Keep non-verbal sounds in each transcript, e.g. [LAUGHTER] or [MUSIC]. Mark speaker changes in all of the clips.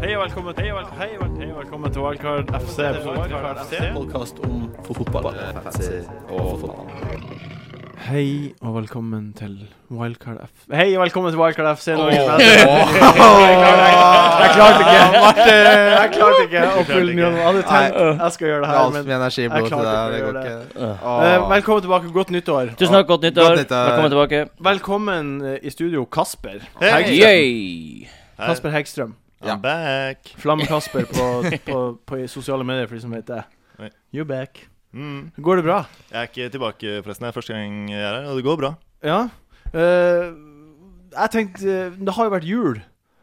Speaker 1: Hei og velkommen til Wildcard Hei og vel- hei og velkommen til Wildcard FC. Wildcard FC.
Speaker 2: podkast om fotball. Og fotball.
Speaker 1: Hei og velkommen til Wildcard F... Hei og velkommen til Wildcard FC Norges
Speaker 3: [LAUGHS]
Speaker 1: mester. Jeg klarte [LAUGHS] ikke Jeg klarte ikke å pulle den gjennom. Jeg hadde tenkt jeg skal gjøre det her, [LAUGHS]
Speaker 2: Alt
Speaker 1: men
Speaker 2: mye energi i
Speaker 1: jeg
Speaker 2: blodet til
Speaker 1: klarte
Speaker 2: deg.
Speaker 1: ikke
Speaker 2: Det
Speaker 1: å
Speaker 2: går
Speaker 1: gjøre
Speaker 2: ikke.
Speaker 1: Eh, Velkommen tilbake. Godt nyttår.
Speaker 3: Tusen takk, godt nyttår.
Speaker 2: Godt nyttår.
Speaker 3: Velkommen tilbake.
Speaker 1: Velkommen eh, i studio, Kasper.
Speaker 3: Yay.
Speaker 1: Kasper Hegstrøm.
Speaker 2: Ja.
Speaker 4: I'm back.
Speaker 1: Flamme-Kasper
Speaker 4: [LAUGHS]
Speaker 1: på, på, på sosiale medier, for de som vet det.
Speaker 4: Oi.
Speaker 1: You back.
Speaker 4: Mm.
Speaker 1: Går det bra?
Speaker 4: Jeg er ikke tilbake, forresten. Det er første gang jeg er her, og det går bra.
Speaker 1: Ja. eh, jeg tenkte eh, Det har jo vært jul.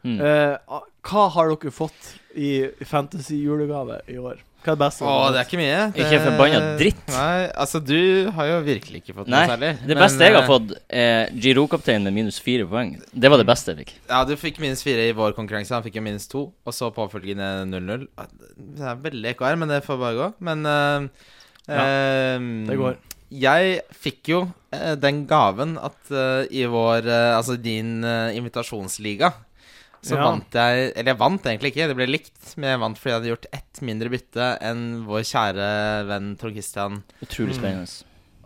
Speaker 3: Mm.
Speaker 1: Eh, hva har dere fått i fantasy-julegave i år? Hva er det beste?
Speaker 2: Å, det er ikke mye. Det-
Speaker 3: Ikke forbanna dritt.
Speaker 2: Eh, Nei, altså, du har jo virkelig ikke fått noe
Speaker 3: Nei,
Speaker 2: særlig.
Speaker 3: det
Speaker 2: men,
Speaker 3: beste jeg har
Speaker 2: eh,
Speaker 3: fått, er Giro-kapteinen med minus fire poeng. Det var det beste jeg fikk.
Speaker 2: Ja, du fikk minus fire i vår konkurranse. Han fikk jo minus to, og så påfølgende 0-0. Ah, Det er veldig ekko her, men det får bare gå. Men eh,
Speaker 1: Ja,
Speaker 2: eh,
Speaker 1: Det går.
Speaker 2: Jeg fikk jo eh, den gaven at eh, i vår eh, Altså din eh, invitasjonsliga så
Speaker 1: Ja.
Speaker 2: vant jeg Eller jeg vant egentlig ikke, det ble likt, men jeg vant fordi jeg hadde gjort ett mindre bytte enn vår kjære venn Trond Christian.
Speaker 3: Utrolig spennende.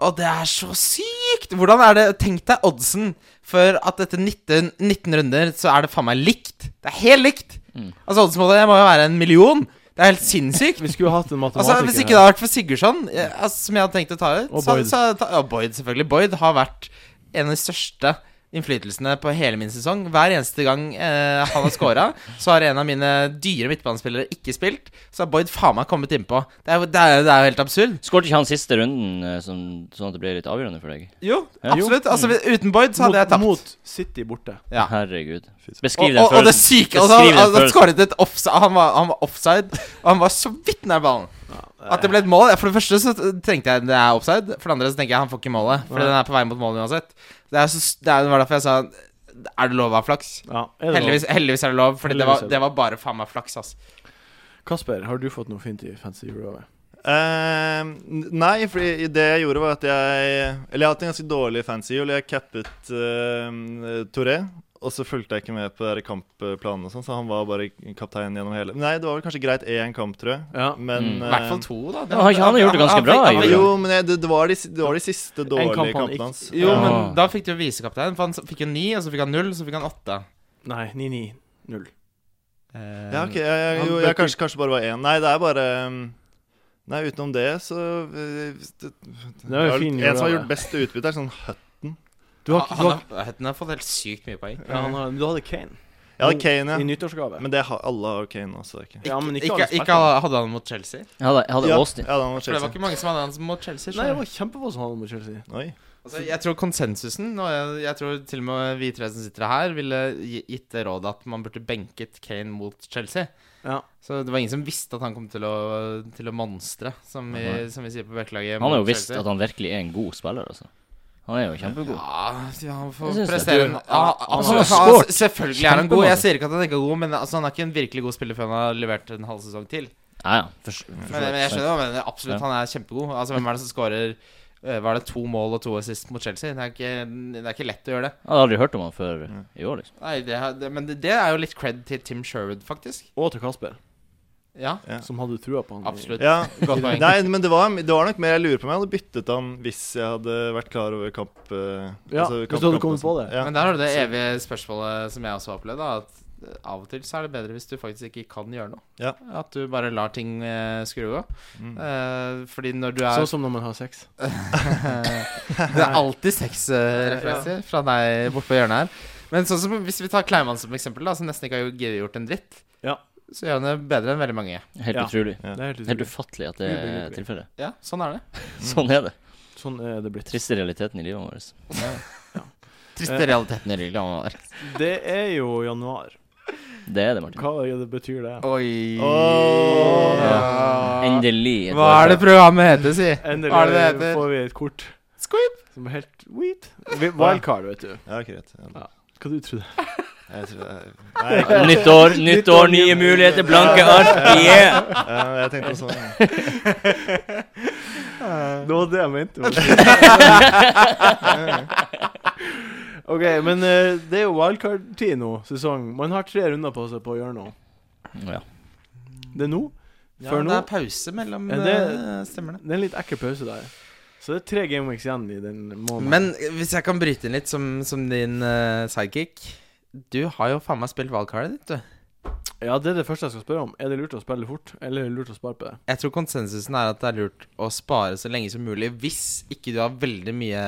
Speaker 2: Og det er så sykt! Hvordan er det Tenk deg oddsen for at etter 19, 19 runder så er det faen meg likt. Det er helt likt!
Speaker 3: Mm.
Speaker 2: Altså oddsmålet må jo være en million. Det er helt sinnssykt.
Speaker 1: Vi skulle hatt en
Speaker 2: Altså,
Speaker 1: matematiker
Speaker 2: Hvis ikke det hadde vært for Sigurdsson, eh, altså, som jeg hadde tenkt å ta ut
Speaker 1: Og
Speaker 2: så-
Speaker 1: Boyd.
Speaker 2: Så, ta, ja, Boyd, selvfølgelig. Boyd har vært en av de største innflytelsene på hele min sesong. Hver eneste gang eh, han har [LAUGHS] scora, så har en av mine dyre midtbanespillere ikke spilt. Så har Boyd faen meg kommet innpå. Det er, jo- det er, det er jo helt absurd.
Speaker 3: Skåret ikke han siste runden, eh, som, sånn at det ble litt avgjørende for deg?
Speaker 2: Jo,
Speaker 3: Ja.
Speaker 2: absolutt. Altså, uten Boyd så hadde
Speaker 1: mot,
Speaker 2: jeg tapt.
Speaker 1: mot City borte.
Speaker 2: Ja.
Speaker 3: Herregud.
Speaker 2: Og,
Speaker 3: Beskriv den
Speaker 2: og, og det
Speaker 3: følelsen.
Speaker 2: syke altså, han,
Speaker 3: Beskriv den
Speaker 2: han, han
Speaker 3: følelsen.
Speaker 2: skåret et offside han var, han var offside, og han var så vidt nær ballen. At det ble et mål ja, For det første så tenkte jeg det er offside. For det andre så tenker jeg han får ikke målet. Fordi
Speaker 1: Nei.
Speaker 2: den er på vei mot målet uansett. Det, er så, det er- det var derfor jeg sa Er det lov å ha flaks?
Speaker 1: Ja, er det
Speaker 2: Heldigvis, heldigvis er det lov, Fordi det
Speaker 1: Heldigvis er
Speaker 2: var,
Speaker 1: det
Speaker 2: det var bare faen meg flaks. Ass.
Speaker 1: lov? Kasper, har du fått noe fint i fancy julegave?
Speaker 4: Eh, n- nei, for det jeg gjorde, var at jeg Eller jeg har hatt en ganske dårlig fancy jul. Jeg cappet eh, Touré. Og så fulgte jeg ikke med på de der kampplanene, og sånn, så han var bare kaptein gjennom hele Nei, det var vel kanskje greit én kamp, tror jeg.
Speaker 1: Ja.
Speaker 4: Men
Speaker 3: Mm.
Speaker 2: I
Speaker 4: eh,
Speaker 2: hvert fall to, da.
Speaker 3: Ja, han- han har gjort det ganske bra,
Speaker 2: fikk- han fikk-
Speaker 4: Jo, men jeg, det, det, var de, si- det var de siste dårlige
Speaker 1: kamp han ikke-
Speaker 4: kampene hans.
Speaker 2: Jo,
Speaker 4: Ja.
Speaker 2: men
Speaker 3: Ja.
Speaker 2: da fikk du jo visekaptein. For han s- fikk jo ni, og så fikk han null, så fikk han åtte. Eh,
Speaker 1: Nei, 9-9-0.
Speaker 4: Ja, ok. Jeg,
Speaker 1: Han
Speaker 4: jeg, jo,
Speaker 1: bør
Speaker 4: jeg
Speaker 1: ikke-
Speaker 4: kanskje, kanskje bare var én. Nei, det er bare um, Nei, utenom det, så eh, det,
Speaker 1: Det var jo
Speaker 4: Ja,
Speaker 1: fin
Speaker 4: En som har
Speaker 1: julegave.
Speaker 4: gjort best utbytte, er sånn Hut.
Speaker 1: Du har, ikke- du
Speaker 2: Ah, Han,
Speaker 1: har,
Speaker 2: har- han har fått helt sykt mye poeng.
Speaker 1: ja, han har, du hadde Kane
Speaker 4: Ja,
Speaker 1: Men-
Speaker 4: Kane,
Speaker 1: i
Speaker 4: ja.
Speaker 1: nyttårsgave.
Speaker 4: Men det har, alle har Kane også. Ikke?
Speaker 1: Ja, men ikke
Speaker 2: Ikke,
Speaker 1: alle
Speaker 2: ikke,
Speaker 1: spillere.
Speaker 2: hadde han mot Chelsea?
Speaker 3: Jeg hadde, jeg hadde
Speaker 4: ja,
Speaker 3: Austin.
Speaker 4: ja, da må
Speaker 2: For det var
Speaker 4: Chelsea.
Speaker 2: ikke mange som hadde han mot Chelsea.
Speaker 1: Nei, det
Speaker 2: skjønner du.
Speaker 1: var kjempegodt han mot Chelsea.
Speaker 4: Oi.
Speaker 2: altså, jeg tror konsensusen, og jeg, jeg tror til og med vi tre som sitter her, ville gi- gitt det rådet at man burde benket Kane mot Chelsea.
Speaker 1: Ja.
Speaker 2: Så det var ingen som visste at han kom til å, til å monstre, som vi,
Speaker 3: Nei.
Speaker 2: som vi sier på Bertelaget.
Speaker 3: Han har jo visst at han virkelig er en god spiller, altså. Han er jo kjempegod.
Speaker 2: ja, ja, han får
Speaker 3: Jeg syns det.
Speaker 2: prestere en-
Speaker 3: Du,
Speaker 2: ja,
Speaker 3: han-
Speaker 2: han-
Speaker 3: han
Speaker 2: han-
Speaker 3: har scoret.
Speaker 2: Selvfølgelig er han god.
Speaker 3: Kjempemåte.
Speaker 2: Jeg sier ikke at han ikke er god, men altså, han er ikke en virkelig god spiller før han har levert en halv sesong til.
Speaker 3: Ja, ja. For, for,
Speaker 2: Men, men jeg skjønner hva du mener. Absolutt,
Speaker 3: Ja.
Speaker 2: han er kjempegod. Altså, Hvem er det som skårer eh, Var det to mål og to assist mot Chelsea? Det er ikke, det er ikke lett å gjøre det.
Speaker 3: Jeg hadde aldri hørt om han før
Speaker 2: Mm.
Speaker 3: i år, liksom.
Speaker 2: Nei, det, er- det, Men det, det er jo litt cred til Tim Sherwood, faktisk.
Speaker 1: Og til Kasper,
Speaker 2: Ja,
Speaker 4: Ja.
Speaker 1: som hadde trua på han. i-
Speaker 2: absolutt.
Speaker 4: Ja.
Speaker 2: Godt poeng.
Speaker 4: Nei, men det var, det var nok mer jeg lurer på om jeg hadde byttet han hvis jeg hadde vært klar over kamp... eh,
Speaker 1: Ja, hvis du hadde
Speaker 4: kampkampen
Speaker 1: kommet på
Speaker 4: og sånn.
Speaker 1: det.
Speaker 4: Ja.
Speaker 2: Men der har du det evige spørsmålet som jeg også har opplevd. Da, at eh, av og til så er det bedre hvis du faktisk ikke kan gjøre noe.
Speaker 4: Ja.
Speaker 2: At du bare lar ting eh, skru gå.
Speaker 4: Mm.
Speaker 2: Eh, fordi når du er
Speaker 1: Sånn som når man har sex.
Speaker 2: [LAUGHS] Det er alltid sexreferanser fra deg bortpå hjørnet her. Men sånn som hvis vi tar Kleiman som eksempel, da, som nesten ikke har gjort- gjort en dritt,
Speaker 1: Ja.
Speaker 2: så gjør han det bedre enn veldig mange.
Speaker 3: liksom. Helt
Speaker 1: Ja.
Speaker 3: utrolig.
Speaker 4: Ja.
Speaker 1: Det er helt
Speaker 3: Helt
Speaker 1: utrolig.
Speaker 3: ufattelig at det er
Speaker 1: Ubegripelig.
Speaker 3: tilfellet.
Speaker 2: Ja, sånn er det.
Speaker 3: Sånn er det.
Speaker 1: Sånn er det blitt.
Speaker 3: Triste realiteten i livet vårt.
Speaker 2: [LAUGHS] Triste realiteten i Rygland.
Speaker 1: Det er jo januar.
Speaker 3: Det er det, Martin.
Speaker 1: Hva er det betyr det?
Speaker 2: Oi.
Speaker 4: Åh.
Speaker 2: Ja.
Speaker 3: Endelig. et
Speaker 2: Hva er
Speaker 3: år
Speaker 2: det
Speaker 3: til.
Speaker 2: programmet heter, si?
Speaker 1: Endelig
Speaker 2: Hva er det det heter?
Speaker 1: får vi et kort
Speaker 2: Squib.
Speaker 1: som er helt weed. Wildcard, vet du.
Speaker 4: Ja, ok, greit. Ja.
Speaker 1: Hva du trodde du?
Speaker 4: Jeg tror
Speaker 1: [LAUGHS]
Speaker 4: jeg, nei, jeg,
Speaker 3: Nytt år, nytt år, nye muligheter, blanke ark. Yeah!
Speaker 4: jeg, jeg tenkte også sånn.
Speaker 1: Det var det jeg
Speaker 2: [LAUGHS]
Speaker 1: mente. [LAUGHS] ok, men eh, det er jo wildcard-tid nå, sesong. Man har tre runder på seg på å gjøre noe.
Speaker 3: Ja.
Speaker 1: Det er nå.
Speaker 2: Ja,
Speaker 1: Før
Speaker 2: det
Speaker 1: nå.
Speaker 2: er pause mellom
Speaker 1: Er det-
Speaker 2: eh, Stemmer det.
Speaker 1: Det er en litt ekkel pause der. Så det er tre Game Weeks igjen i den måneden.
Speaker 2: Men hvis jeg kan bryte inn litt som, som din eh, sidekick Du har jo faen meg spilt valgkartet ditt, du.
Speaker 1: Ja, det er det første jeg skal spørre om. Er det lurt å spille fort, eller er det lurt å spare på det?
Speaker 2: Jeg tror konsensusen er at det er lurt å spare så lenge som mulig hvis ikke du har veldig mye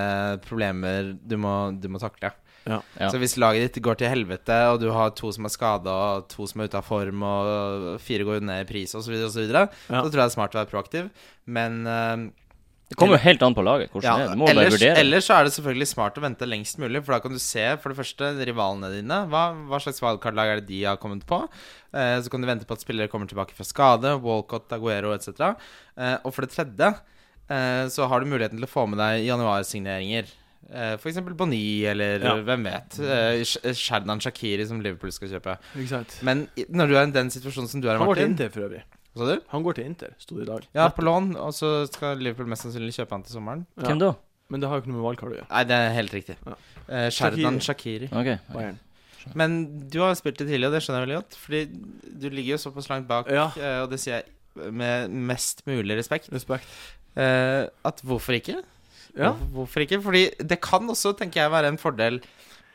Speaker 2: problemer du må, du må takle.
Speaker 1: Ja.
Speaker 3: Ja.
Speaker 2: Så hvis laget ditt går til helvete, og du har to som er skada, og to som er ute av form, og fire går ned i pris osv., videre, og så, videre,
Speaker 1: Ja.
Speaker 2: så tror jeg det er smart å være proaktiv. Men eh,
Speaker 3: Det kommer jo helt an på laget. Hvordan
Speaker 2: ja,
Speaker 3: det er. Du må jo bare
Speaker 2: ellers,
Speaker 3: vurdere.
Speaker 2: ellers så er det selvfølgelig smart å vente lengst mulig, for da kan du se for det første rivalene dine. Hva, hva slags wildcard-lag er det de har kommet på? Eh, så kan du vente på at spillere kommer tilbake fra skade, Walcott, Aguero etc. Eh, og for det tredje eh, så har du muligheten til å få med deg januarsigneringer. Eh, for eksempel Bonny, eller
Speaker 1: Ja.
Speaker 2: hvem vet. Eh, Sh- Sherdan Shakiri, som Liverpool skal kjøpe.
Speaker 1: Ikke sant?
Speaker 2: Men i- når du er i den situasjonen som du er i,
Speaker 1: Han går til
Speaker 2: Martin
Speaker 1: Inter, for øvrig.
Speaker 2: Hva sa du?
Speaker 1: Han går til Inter, sto det i dag.
Speaker 2: Ja, på lån, og så skal Liverpool mest sannsynlig kjøpe han til sommeren.
Speaker 1: Ja.
Speaker 3: Hvem da?
Speaker 1: Men det har jo ikke noe med valgkart å gjøre.
Speaker 2: Nei, det er helt riktig.
Speaker 1: Ja.
Speaker 2: Eh, Sherdan Shakiri.
Speaker 3: Ok.
Speaker 1: Bayern.
Speaker 2: Men du har jo spilt det tidligere, og det skjønner jeg veldig godt. Fordi du ligger jo såpass langt bak,
Speaker 1: Ja.
Speaker 2: eh, og det sier jeg med mest mulig respekt,
Speaker 1: Respekt.
Speaker 2: eh, at hvorfor ikke?
Speaker 1: Ja.
Speaker 2: Hvor- Hvorfor ikke? Fordi det kan også, tenker jeg, være en fordel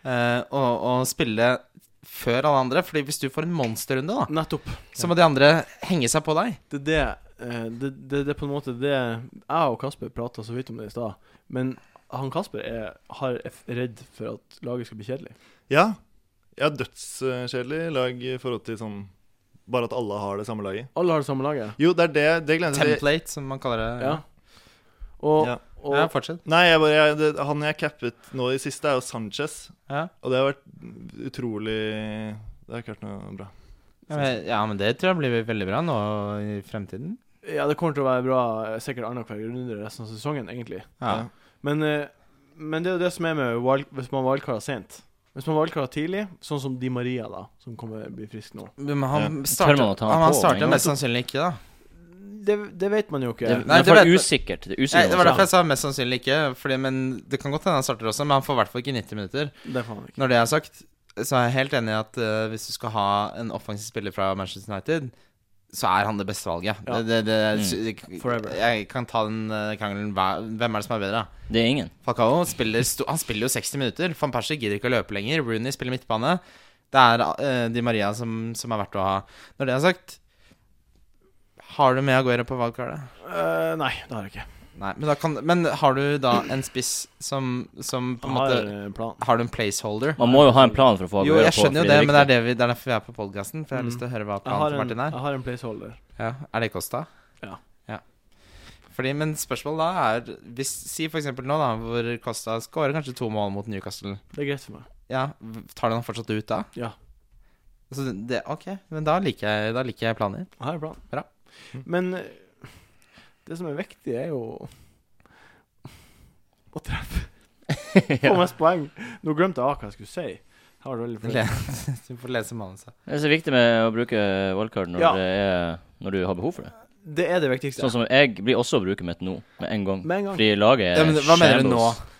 Speaker 2: eh, å, å spille før alle andre. Fordi hvis du får en monsterrunde, da,
Speaker 1: Nettopp.
Speaker 2: så må de andre henge seg på deg.
Speaker 1: Det er det, eh, det, det, det er på en måte det Jeg og Kasper prata så vidt om det i stad, men han Kasper er, har, er f- redd for at laget skal bli kjedelig.
Speaker 4: Ja. Jeg har dødskjedelig lag i forhold til sånn Bare at alle har det samme laget.
Speaker 1: Alle har det samme laget.
Speaker 4: Jo, det er det. Det glemte jeg. å si.
Speaker 2: Template, som man kaller det.
Speaker 1: Ja. Og,
Speaker 4: Ja.
Speaker 1: og
Speaker 2: ja fortsett.
Speaker 4: Nei, jeg bare, jeg, det, han jeg cappet nå i siste, er jo Sanchez.
Speaker 2: Ja.
Speaker 4: Og det har vært utrolig Det har ikke vært noe bra.
Speaker 2: Ja, men- ja, men det tror jeg blir veldig bra nå i fremtiden.
Speaker 1: ja, det kommer til å være bra eh, sikkert annenhver runde resten av sesongen, egentlig.
Speaker 2: Ja.
Speaker 1: Men, eh, men det er jo det som er med wild, hvis man wildcarder sent. Hvis man wildcarder tidlig, sånn som Di Maria, da, som kommer blir frisk nå.
Speaker 2: Men
Speaker 4: Ja.
Speaker 2: han
Speaker 3: Tør man
Speaker 2: starter
Speaker 3: å ta
Speaker 2: han, han
Speaker 3: på
Speaker 2: starter
Speaker 3: med en altså?
Speaker 2: mest sannsynlig ikke, da.
Speaker 1: Det, det vet man jo ikke.
Speaker 3: Det,
Speaker 2: Nei,
Speaker 3: det,
Speaker 2: det
Speaker 3: er
Speaker 2: vet-
Speaker 3: usikkert. Det er
Speaker 2: Nei,
Speaker 3: usikkert.
Speaker 2: det var derfor jeg sa mest sannsynlig ikke. Fordi, men Det kan godt hende han starter også, men han får i hvert fall ikke 90 minutter.
Speaker 1: Det får man ikke.
Speaker 2: Når det er sagt, så er jeg helt enig i at eh, hvis du skal ha en offensiv spiller fra Manchester United, så er han det beste valget.
Speaker 1: Ja.
Speaker 2: Det, det, det,
Speaker 3: Mm.
Speaker 2: sy-
Speaker 1: Forever.
Speaker 2: Jeg kan ta den eh, krangelen hva- Hvem er det som er bedre? da?
Speaker 3: Det er ingen.
Speaker 2: Falcao spiller, sto- han spiller jo 60 minutter. Van Persie gidder ikke å løpe lenger. Rooney spiller midtbane. Det er eh, Di Maria som, som er verdt å ha. Når det er sagt, har du med Aguero på valgkartet?
Speaker 1: Eh, nei, det har jeg ikke.
Speaker 2: Nei, men, da kan, men har du da en spiss som, som på
Speaker 1: Jeg
Speaker 2: en
Speaker 1: har
Speaker 2: måte
Speaker 1: eh, plan.
Speaker 2: Har du en placeholder?
Speaker 3: Man må jo ha en plan for å få
Speaker 2: Jo,
Speaker 3: Aguero
Speaker 2: jeg
Speaker 3: på,
Speaker 2: skjønner jo
Speaker 3: fordi
Speaker 2: det,
Speaker 3: er
Speaker 2: men det er,
Speaker 3: viktig.
Speaker 2: det, vi, det er derfor vi er på podkasten. For jeg har
Speaker 1: Mm.
Speaker 2: lyst til å høre hva
Speaker 1: Jeg
Speaker 2: planen
Speaker 1: har,
Speaker 2: til
Speaker 1: en,
Speaker 2: Martin er.
Speaker 1: jeg har en placeholder.
Speaker 2: Ja, er det Costa?
Speaker 1: Ja.
Speaker 2: Fordi, men spørsmålet da er hvis, Si for eksempel nå, da, hvor Costa skårer kanskje to mål mot Newcastle.
Speaker 1: Det er greit for meg.
Speaker 2: Ja, v- Tar du han fortsatt ut da?
Speaker 1: Ja.
Speaker 2: Så det, ok, men da liker jeg, da liker jeg planen din.
Speaker 1: Jeg har en plan.
Speaker 2: Bra.
Speaker 1: Men eh, det som er viktig, er jo å treffe.
Speaker 2: [LAUGHS]
Speaker 1: Få mest poeng. Nå glemte jeg hva jeg skulle si. Jeg var veldig fornøyd.
Speaker 2: Le- [LAUGHS] Du får lese manuset.
Speaker 3: Det er så viktig med å bruke wildcard når,
Speaker 1: Ja.
Speaker 3: det er- når du har behov for det.
Speaker 1: Det er det viktigste.
Speaker 3: Sånn som jeg blir også å bruke mitt nå, med en gang.
Speaker 1: Med en gang.
Speaker 3: Fordi laget er
Speaker 2: Ja, men hva mener du nå?
Speaker 3: shambles.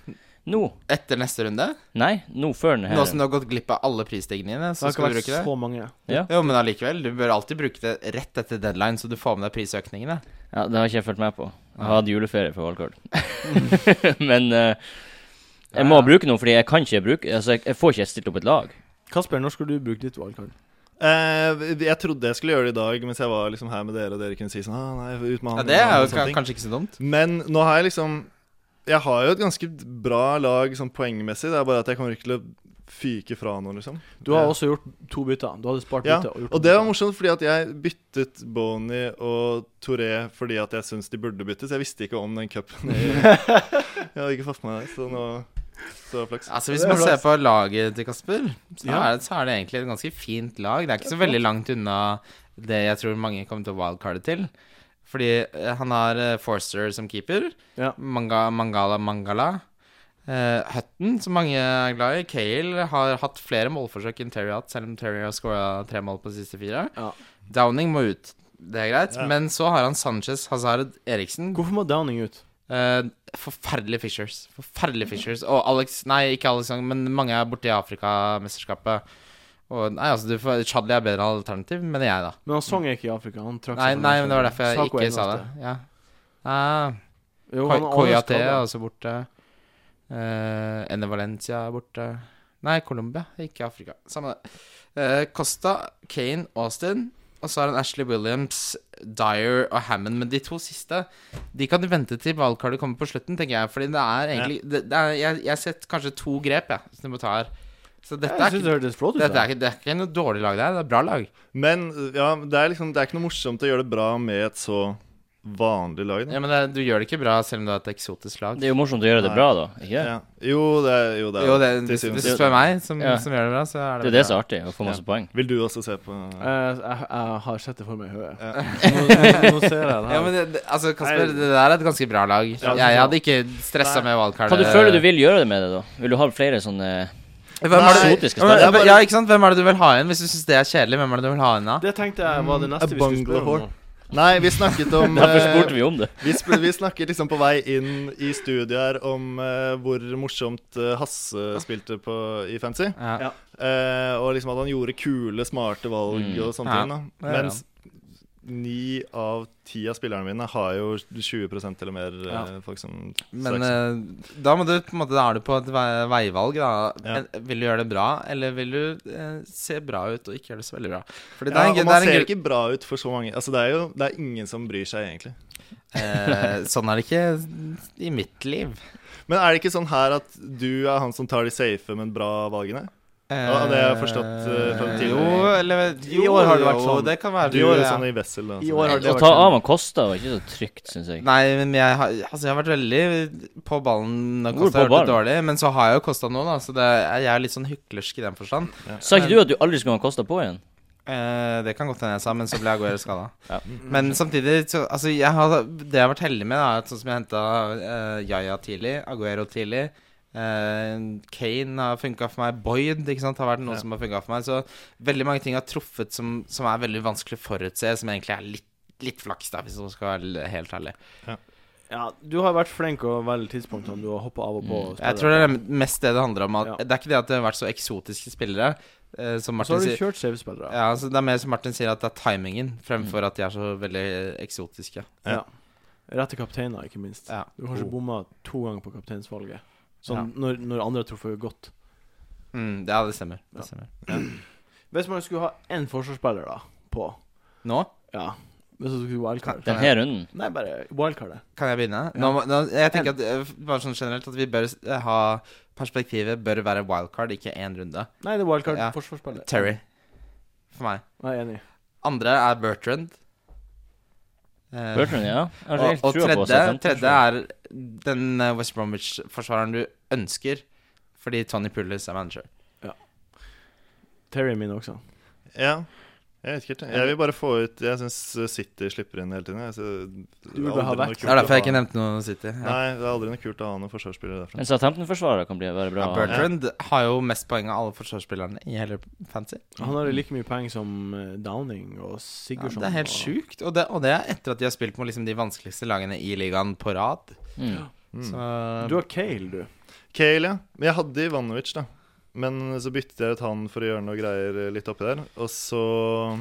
Speaker 3: Nå?
Speaker 2: Etter neste runde?
Speaker 3: Nei, nå før den her.
Speaker 2: Nå som du har gått glipp av alle prisstigningen dine,
Speaker 1: Det
Speaker 2: så
Speaker 1: har ikke
Speaker 2: skal du
Speaker 1: vært
Speaker 2: bruke det?
Speaker 1: så mange.
Speaker 3: Ja.
Speaker 2: Jo, men allikevel. Du bør alltid bruke det rett etter deadline, så du får med deg prisøkningene.
Speaker 3: Ja, det har ikke jeg fulgt med på. Jeg
Speaker 2: Nei. Mm.
Speaker 3: har hatt juleferie for valgkart. [LAUGHS] Men eh, jeg må
Speaker 2: Ja, ja.
Speaker 3: bruke noe, fordi jeg kan ikke bruke Altså, jeg, jeg får ikke stilt opp et lag.
Speaker 1: Kasper, når skal du bruke ditt wildcard?
Speaker 4: Eh, jeg trodde jeg skulle gjøre det i dag, mens jeg var liksom her med dere, og dere kunne si sånn ah, nei, ut med han. ut
Speaker 2: Ja, Det
Speaker 4: med
Speaker 2: er
Speaker 4: han, og
Speaker 2: jo ka-
Speaker 4: sånne ting.
Speaker 2: kanskje ikke så dumt.
Speaker 4: Men nå har jeg liksom Jeg har jo et ganske bra lag sånn poengmessig. Det er bare at jeg kommer ikke til å fyke fra noen, liksom.
Speaker 1: Du har
Speaker 4: Ja.
Speaker 1: også gjort to bytter. Du hadde spart
Speaker 4: Ja,
Speaker 1: bytte og gjort
Speaker 4: Og det var morsomt, fordi at jeg byttet Boni og Touré fordi at jeg syns de burde byttes. Jeg visste ikke om den cupen.
Speaker 1: [LAUGHS]
Speaker 4: Jeg, jeg hadde ikke fått med meg det, så nå Så flaks.
Speaker 2: Altså Hvis
Speaker 1: Det er
Speaker 2: man
Speaker 1: bra.
Speaker 2: ser på laget til Kasper, så,
Speaker 1: Ja.
Speaker 2: er det, så er det egentlig et ganske fint lag. Det er ikke så veldig langt unna det jeg tror mange kommer til å wildcarde til. Fordi eh, han har eh, Forster som keeper.
Speaker 1: Ja.
Speaker 2: Manga, Mangala Mangala. Eh, Hutton, som mange er glad i. Cale har hatt flere målforsøk enn Terry har hatt, selv om Terry har skåra tre mål på de siste fire.
Speaker 1: Ja.
Speaker 2: Downing må ut, det er greit.
Speaker 4: Ja.
Speaker 2: Men så har han Sanchez, Hazard, Eriksen.
Speaker 1: Hvorfor må Downing ut?
Speaker 2: Eh, forferdelige Fishers. Forferdelige Fishers. Og Alex Nei, ikke Alex, men mange er borte i Afrikamesterskapet. Og, nei, altså, du får, Chadli er bedre alternativ, mener jeg, da.
Speaker 1: Men han sang ikke i Afrika. Han trakk
Speaker 2: Nei,
Speaker 1: seg fra
Speaker 2: nei, men det
Speaker 1: landslaget.
Speaker 2: var derfor jeg
Speaker 1: Sako
Speaker 2: ikke
Speaker 1: er
Speaker 2: sa det.
Speaker 1: eneste.
Speaker 2: Ja. Ah,
Speaker 1: Jo, han er
Speaker 2: Koyate
Speaker 1: skadet.
Speaker 2: er også borte. Uh, Ene Valencia er borte. Nei, Colombia. Ikke Afrika. Samme det. Eh, Costa, Kane, Austin. Og så er det en Ashley Williams, Dyer og Hammond. Men de to siste De kan du vente til valgkartet kommer på slutten, tenker jeg. Fordi det er egentlig det, det er, jeg, jeg har sett kanskje to grep, jeg, som du må ta her. Så dette
Speaker 1: Jeg
Speaker 2: er,
Speaker 1: synes
Speaker 2: ikke,
Speaker 1: det hørtes flott ut.
Speaker 2: dette
Speaker 1: da.
Speaker 2: er, ikke, det er ikke noe dårlig lag, det her. Det er bra lag.
Speaker 4: Men ja, det er liksom Det er ikke noe morsomt å gjøre det bra med et så vanlig lag. Da.
Speaker 2: Ja, men det, du gjør det ikke bra selv om du har et eksotisk lag.
Speaker 3: Det er jo morsomt å gjøre det
Speaker 4: Nei.
Speaker 3: bra, da. Ikke?
Speaker 4: Ja. Jo, det er jo det. er-
Speaker 2: Jo, det,
Speaker 4: til
Speaker 2: hvis,
Speaker 4: syvende og
Speaker 2: hvis du
Speaker 4: sist.
Speaker 2: spør meg, som,
Speaker 3: Ja.
Speaker 2: som gjør det bra, så er det
Speaker 3: Det er det
Speaker 2: bra.
Speaker 3: som er artig, å få masse poeng.
Speaker 4: Vil du også se på
Speaker 1: Eh, jeg, jeg har sett det for meg i hodet.
Speaker 4: Ja.
Speaker 1: Nå, nå ser jeg det
Speaker 2: [LAUGHS] Ja,
Speaker 1: her.
Speaker 2: men det, det- altså, Kasper,
Speaker 1: Nei.
Speaker 2: det der er et ganske bra lag.
Speaker 1: Ja,
Speaker 2: jeg, jeg hadde ikke stressa
Speaker 4: Nei.
Speaker 2: med valgkartet.
Speaker 3: Hva du føler du vil gjøre det med det, da? Vil du ha flere sånne
Speaker 2: Hvem er det,
Speaker 3: eksotiske spillere?
Speaker 4: Jeg bare-
Speaker 2: ja, ikke sant? Hvem er det du vil ha igjen? Hvis du syns det er kjedelig, hvem er det du vil ha igjen da?
Speaker 1: Det tenkte jeg var det neste
Speaker 4: A
Speaker 1: vi skulle spørre om.
Speaker 4: bunglehorn. Nei, vi snakket
Speaker 2: [LAUGHS]
Speaker 4: om
Speaker 3: Derfor
Speaker 4: eh,
Speaker 3: spurte vi om det.
Speaker 4: Vi, sp vi snakket liksom på vei inn i studiet her om eh, hvor morsomt eh, Hasse spilte på, i Fancy.
Speaker 2: Ja.
Speaker 1: Ja.
Speaker 4: Eh, og liksom at han gjorde kule, smarte valg
Speaker 3: Mm.
Speaker 4: og sånne
Speaker 2: Ja,
Speaker 4: ting.
Speaker 2: det
Speaker 4: da
Speaker 2: gjør
Speaker 4: Mens ni av ti av spillerne mine har jo 20 eller mer eh,
Speaker 1: Ja.
Speaker 4: folk som
Speaker 2: Men
Speaker 4: straks-
Speaker 2: eh, da må du på en måte Da er du på et vei, veivalg, da.
Speaker 4: Ja.
Speaker 2: Men Vil du gjøre det bra, eller vil du eh, se bra ut og ikke gjøre det så veldig bra? Fordi det
Speaker 4: ja,
Speaker 2: er en,
Speaker 4: og
Speaker 2: gru-
Speaker 4: man ser
Speaker 2: det er en gru-
Speaker 4: ikke bra ut for så mange. Altså Det er jo det er ingen som bryr seg, egentlig.
Speaker 2: Eh, Sånn er det ikke i mitt liv.
Speaker 4: Men er det ikke sånn her at du er han som tar de safe, men bra valgene? Ja, det har jeg forstått, eh, fra
Speaker 2: Eh,
Speaker 4: tidligere.
Speaker 2: Jo, eller
Speaker 1: I år har det vært sånn.
Speaker 2: Jo, det kan være
Speaker 4: Du gjør det
Speaker 2: ja.
Speaker 4: sånn i Wessel. da,
Speaker 1: I
Speaker 4: sånn.
Speaker 1: år har det
Speaker 3: Å ta av han Kosta var ikke så trygt, syns jeg.
Speaker 2: Nei, men jeg har, altså jeg har vært veldig på ballen når
Speaker 3: Hvor
Speaker 2: Kosta
Speaker 3: på
Speaker 2: har gjort det
Speaker 3: ballen?
Speaker 2: dårlig. Men så har jeg jo Kosta nå, da, så det, er- jeg er litt sånn hyklersk i den forstand.
Speaker 3: Sa ikke du at du aldri skulle ha Kosta på igjen?
Speaker 2: Eh, det kan godt hende jeg sa, men så ble Aguero skada.
Speaker 3: [LAUGHS] Ja.
Speaker 2: Men samtidig, så, altså jeg har, det jeg har vært heldig med, da, er at sånn som jeg henta Yaya tidlig, Aguero tidlig eh, Kane har funka for meg, Boyd ikke sant, har vært noen
Speaker 4: Ja.
Speaker 2: som har funka for meg. Så veldig mange ting har truffet som, som er veldig vanskelig å forutse, som egentlig er litt, litt flaks, da, hvis man skal være helt ærlig.
Speaker 1: Ja, du har vært flink å velge tidspunktene du har hoppa av og på. og
Speaker 2: Mm. Jeg
Speaker 1: spillet.
Speaker 2: tror det er mest det det handler om. At
Speaker 1: Ja.
Speaker 2: Det er ikke det at det har vært så eksotiske spillere. eh, som
Speaker 1: Så
Speaker 2: Martin
Speaker 1: har du
Speaker 2: sier
Speaker 1: kjørt CV-spillere.
Speaker 2: ja, altså, Det er mer som Martin sier, at det er timingen
Speaker 1: Mm.
Speaker 2: fremfor at de er så veldig eksotiske.
Speaker 1: Ja. Rette kapteiner, ikke minst.
Speaker 2: Ja.
Speaker 1: Du har kanskje
Speaker 2: Oh.
Speaker 1: bomma to ganger på kapteinsvalget. Sånn når, når andre har truffet godt.
Speaker 2: Mm, ja, det stemmer.
Speaker 1: Ja.
Speaker 2: Det stemmer.
Speaker 1: Hvis man skulle ha én forsvarsspiller da på
Speaker 2: Nå
Speaker 1: Ja, hvis du skulle wildcard
Speaker 3: Den her runden?
Speaker 1: Nei, bare wildcardet.
Speaker 2: kan jeg begynne. Nå, må- nå, jeg tenker at eh, bare sånn generelt at vi bør eh, ha Perspektivet bør være wildcard, ikke én runde.
Speaker 1: Nei, det er wildcard
Speaker 2: Ja.
Speaker 1: forsvarsspiller.
Speaker 2: Terry. For meg.
Speaker 1: Nei, jeg er enig.
Speaker 2: Andre er Bertrand. Eh,
Speaker 3: Bertrand, ja. Jeg har
Speaker 2: Og,
Speaker 3: helt
Speaker 2: og
Speaker 3: trua på
Speaker 2: tredje,
Speaker 3: Southampton.
Speaker 2: tredje er den eh, West Bromwich-forsvareren du ønsker, fordi Tony Pulis er manager.
Speaker 1: Terry er min også.
Speaker 4: Ja. Jeg vet ikke helt. jeg. Jeg vil bare få ut Jeg syns City slipper inn hele tiden. Jeg. Så,
Speaker 1: Du vil bare ha
Speaker 4: aldri noe
Speaker 1: vekk.
Speaker 4: kult
Speaker 2: Det er derfor jeg
Speaker 4: å
Speaker 2: ikke
Speaker 4: ha-
Speaker 2: nevnte noe City. Ja.
Speaker 4: Nei, det er aldri noe kult å ha noen forsvarsspillere derfra.
Speaker 3: En Southampton-forsvarer kan bli være bra.
Speaker 2: Ja, Bertrand har jo mest poeng av alle forsvarsspillerne i hele Fancy.
Speaker 1: Han har jo like mye poeng som eh, Downing og
Speaker 2: Ja,
Speaker 1: Sigurdsson.
Speaker 2: det er helt
Speaker 1: og-
Speaker 2: sjukt. Og det, og det er etter at de har spilt mot liksom, de vanskeligste lagene i ligaen på rad.
Speaker 3: Mm.
Speaker 4: Mm.
Speaker 2: Så
Speaker 1: Du har Kale, du.
Speaker 4: Cale, ja. Men jeg hadde Ivanovic, da. Men så byttet jeg ut han for å gjøre noe greier eh, litt oppi der. Og så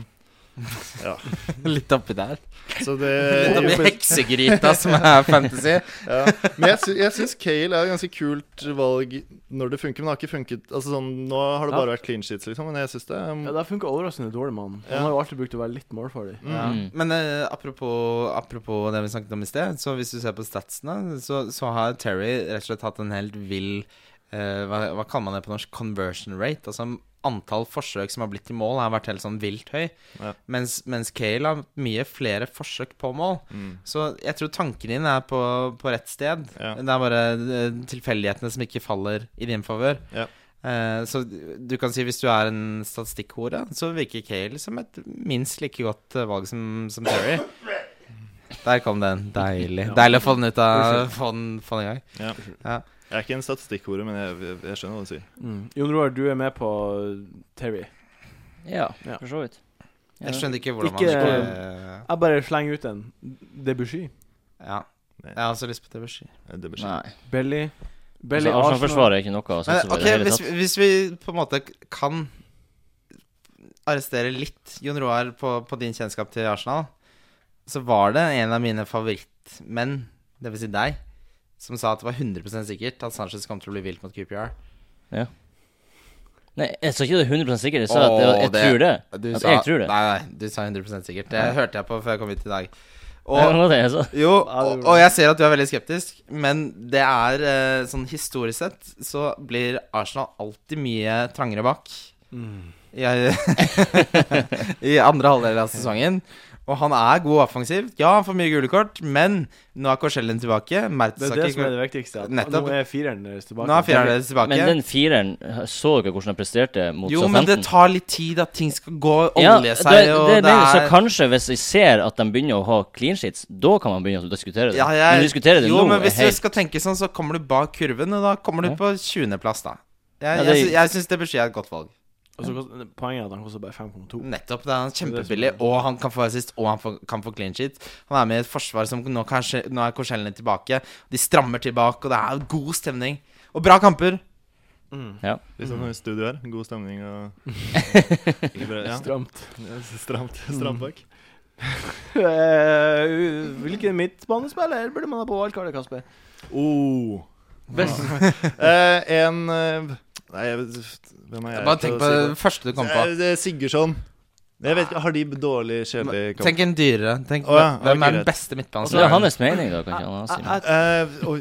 Speaker 2: [LAUGHS] litt oppi der.
Speaker 4: Så det
Speaker 2: Litt oppi heksegryta som er fantasy.
Speaker 4: ja. Men jeg, sy jeg syns Cale er et ganske kult valg når det funker. Men det har ikke funket Altså sånn Nå har det bare vært clean sheets, liksom. Men jeg syns det
Speaker 2: Mm.
Speaker 1: Ja,
Speaker 4: er
Speaker 1: Det funka overraskende dårlig med han.
Speaker 4: Ja.
Speaker 1: Han har jo alltid brukt å være litt målfarlig.
Speaker 4: Mm.
Speaker 2: Ja.
Speaker 3: Mm.
Speaker 2: Men eh, apropos, apropos det vi snakket om i sted, så hvis du ser på statsene, så, så har Terry rett og slett hatt en helt vill eh, hva, hva kaller man det på norsk? Conversion rate. Altså antall forsøk som har blitt i mål, har vært helt sånn vilt høy.
Speaker 4: Ja.
Speaker 2: Mens, mens Cale har mye flere forsøk på mål.
Speaker 4: mm.
Speaker 2: Så jeg tror tanken din er på, på rett sted.
Speaker 4: Ja.
Speaker 2: Det er bare eh, tilfeldighetene som ikke faller i din favør.
Speaker 4: Ja.
Speaker 2: Eh, så du kan si hvis du er en statistikkhore, så virker Cale som et minst like godt eh, valg som, som Terry. Der kom den. Deilig.
Speaker 1: Ja.
Speaker 2: Deilig å få den ut av Få den, få den i gang.
Speaker 4: Ja.
Speaker 2: Ja.
Speaker 4: Jeg er ikke en statistikkhore, men jeg, jeg, jeg skjønner hva du sier.
Speaker 1: Mm. Jon Roar, du er med på eh, Terry.
Speaker 3: Ja,
Speaker 1: Ja.
Speaker 3: for så vidt. Ja.
Speaker 2: Jeg skjønner ikke hvordan
Speaker 1: Ikke-
Speaker 2: man ikke
Speaker 1: Jeg bare slenger ut en. Debussy.
Speaker 2: Ja. Jeg har også lyst på Debussy.
Speaker 4: Det blir
Speaker 3: Nei.
Speaker 1: Belly.
Speaker 3: Altså,
Speaker 1: Belly Arsenal.
Speaker 3: sånn Arsenal-forsvaret er ikke noe å satse
Speaker 2: Men,
Speaker 3: på
Speaker 2: ok,
Speaker 3: i det hele
Speaker 2: hvis,
Speaker 3: tatt.
Speaker 2: hvis vi på en måte kan arrestere litt Jon Roar på, på din kjennskap til Arsenal, så var det en av mine favorittmenn, dvs. Si deg, som sa at det var 100 sikkert at Sanchez kom til å bli vilt mot QPR.
Speaker 3: Nei, jeg sa ikke det 100 sikkert. Jeg sa at jeg, jeg
Speaker 2: Åh, det-
Speaker 3: tror det.
Speaker 2: Du
Speaker 3: At
Speaker 2: sa,
Speaker 3: jeg tror det.
Speaker 2: Nei, nei, du sa 100 sikkert. Det hørte jeg på før jeg kom hit i dag.
Speaker 3: Ja,
Speaker 2: Og
Speaker 3: det var det jeg sa.
Speaker 2: Jo,
Speaker 1: Ja, det
Speaker 2: og, og jeg ser at du er veldig skeptisk, men det er eh, sånn historisk sett så blir Arsenal alltid mye trangere bak
Speaker 1: Mm.
Speaker 2: i, [LAUGHS] i andre halvdel av sesongen. Og han er god offensivt. Ja, han får mye gule kort, men nå er Korsellen tilbake.
Speaker 1: Det er det som er
Speaker 2: Mertesaker
Speaker 1: det viktigste. At
Speaker 2: Nettopp.
Speaker 1: Nå er fireren deres tilbake.
Speaker 2: Nå er fireren deres tilbake.
Speaker 3: Men den fireren, så dere hvordan han presterte mot
Speaker 2: jo, men det
Speaker 3: Southampton?
Speaker 2: tar litt tid at ting skal gå
Speaker 3: Ja,
Speaker 2: olje seg,
Speaker 3: det,
Speaker 2: og
Speaker 3: det, er det, så
Speaker 2: er
Speaker 3: kanskje hvis vi ser at de begynner å ha clean sheets, da kan man begynne å diskutere det.
Speaker 2: Ja, jeg-
Speaker 3: men å diskutere det
Speaker 2: jo,
Speaker 3: nå
Speaker 2: men
Speaker 3: er
Speaker 2: hvis du
Speaker 3: helt
Speaker 2: skal tenke sånn, så kommer du bak kurven, og da kommer du
Speaker 3: Ja.
Speaker 2: på 20.-plass, da. Jeg,
Speaker 3: Ja,
Speaker 2: jeg,
Speaker 3: det-
Speaker 2: sy- jeg syns det bør skje et godt valg.
Speaker 1: Og så kost- Poenget er at han koster bare 5,2.
Speaker 2: Nettopp. det er han
Speaker 1: Det
Speaker 2: Kjempebillig.
Speaker 1: er så-
Speaker 2: Og han kan få assist, og han får, kan få clean sheet. Han er med i et forsvar som nå, kanskje, nå er Korsellene tilbake. De strammer tilbake, og det er god stemning. Og bra kamper. Mm,
Speaker 4: Litt sånn i studio her. God stemning og Ikke bra, ja.
Speaker 1: Stramt.
Speaker 4: Ja, Stramt, stramt bak.
Speaker 1: [LAUGHS] Eh, Hvilken midtbanespiller burde man ha på wildcardet, Kasper?
Speaker 4: Oh.
Speaker 1: Best.
Speaker 4: Eh, en eh, Nei, jeg vet- hvem er jeg?
Speaker 2: [LAUGHS] Bare
Speaker 4: til
Speaker 2: tenk
Speaker 4: å
Speaker 2: på
Speaker 4: si
Speaker 2: det første du kom på.
Speaker 4: Eh, det er Sigurdsson. Jeg vet ikke, Har de dårlig, kjedelig kamp?
Speaker 2: Tenk en dyrere. Tenk
Speaker 4: Å ja, ok,
Speaker 2: Hvem er den
Speaker 4: greit.
Speaker 2: beste
Speaker 3: Så Altså, det
Speaker 2: midtbanespilleren?
Speaker 3: er hans mening, da, kanskje. Han har sin.
Speaker 1: Jeg-
Speaker 4: Eh, oi,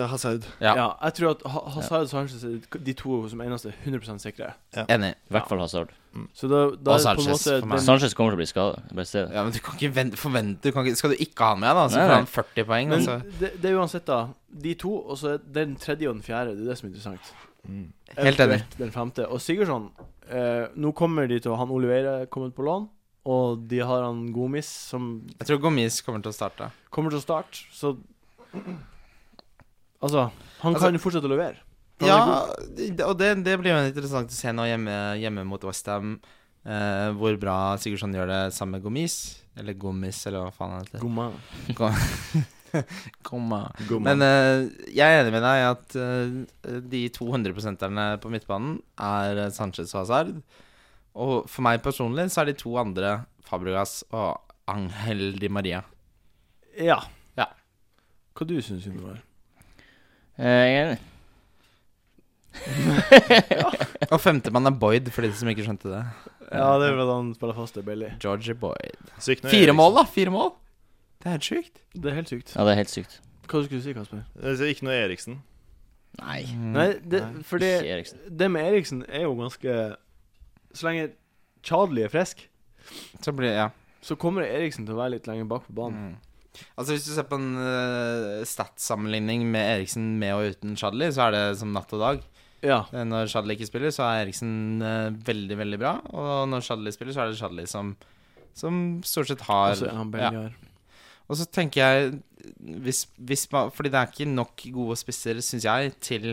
Speaker 4: eh, Hazard.
Speaker 2: Ja.
Speaker 1: Ja, jeg tror at Ha- Hazard og Sanchez er de to som eneste er 100 sikre.
Speaker 2: Enig.
Speaker 3: I hvert fall Hazard.
Speaker 1: Så da, da er
Speaker 2: Og
Speaker 1: det på en
Speaker 2: Sanchez,
Speaker 1: måte
Speaker 2: for meg.
Speaker 1: den-
Speaker 3: Sanchez kommer til å bli skada. Bare se det.
Speaker 2: Ja, men du kan ikke vente, forvente du kan ikke, Skal du ikke ha han med, da, så
Speaker 3: Nei,
Speaker 2: får
Speaker 3: nei.
Speaker 2: han 40 poeng.
Speaker 1: Men
Speaker 2: altså.
Speaker 1: det, det er uansett, da. De to, og så er den tredje og den fjerde. Det er det som er interessant.
Speaker 4: Mm.
Speaker 2: Helt enig.
Speaker 1: Eventuelt Den femte. Og Sigurdsson eh, Nå kommer de til å Han Oliveira er kommet på lån, og de har han Gomis, som
Speaker 2: Jeg tror Gomis kommer til å starte.
Speaker 1: kommer til å starte, så Altså, han
Speaker 2: Altså-
Speaker 1: kan jo fortsette å levere. for han er god.
Speaker 2: Ja, det- og det, det blir jo interessant å se nå hjemme, hjemme mot Westham. Eh, hvor bra Sigurdsson gjør det sammen med Gomis. Eller Gomis, eller hva faen han heter.
Speaker 1: God mann.
Speaker 2: Gomma.
Speaker 4: God mann.
Speaker 2: Men eh, jeg er enig med deg i at eh, de 200-prosenterne på midtbanen er eh, Sanchez og Hazard. Og for meg personlig så er de to andre Fabregas og Angel Di Maria. eh,
Speaker 1: Ja.
Speaker 2: Ja.
Speaker 1: Hva du syns du, Gunnar?
Speaker 3: Eh, Jeg er enig.
Speaker 2: Og femtemann er Boyd, for de som ikke skjønte det.
Speaker 1: Ja, det er fordi han spiller fast, det er billig.
Speaker 2: Georgie Boyd.
Speaker 4: Sykt nå,
Speaker 2: Fire
Speaker 4: Eriksen.
Speaker 2: mål, da! Fire mål! Det er helt sjukt.
Speaker 1: Det er helt sykt.
Speaker 3: Ja, det er helt sykt.
Speaker 1: Hva skulle du si, Kasper?
Speaker 4: Eh, så Ikke noe Eriksen.
Speaker 3: Nei,
Speaker 2: Mm,
Speaker 1: Nei, det, for det,
Speaker 3: ikke Eriksen.
Speaker 1: det med Eriksen er jo ganske Så lenge Chadli er frisk,
Speaker 2: Så blir Ja.
Speaker 1: så kommer Eriksen til å være litt lenger bak på banen.
Speaker 2: Mm. Altså Hvis du ser på en uh, stats-sammenligning med Eriksen med og uten Shadley, så er det som natt og dag.
Speaker 1: Ja.
Speaker 2: Eh, Når Shadley ikke spiller, så er Eriksen eh, veldig, veldig bra. Og når Shadley spiller, så er det Shadley som, som stort sett har
Speaker 1: Altså, han
Speaker 2: ja.
Speaker 1: Bellier.
Speaker 2: Og så tenker jeg hvis, hvis man, Fordi det er ikke nok gode spisser, syns jeg, til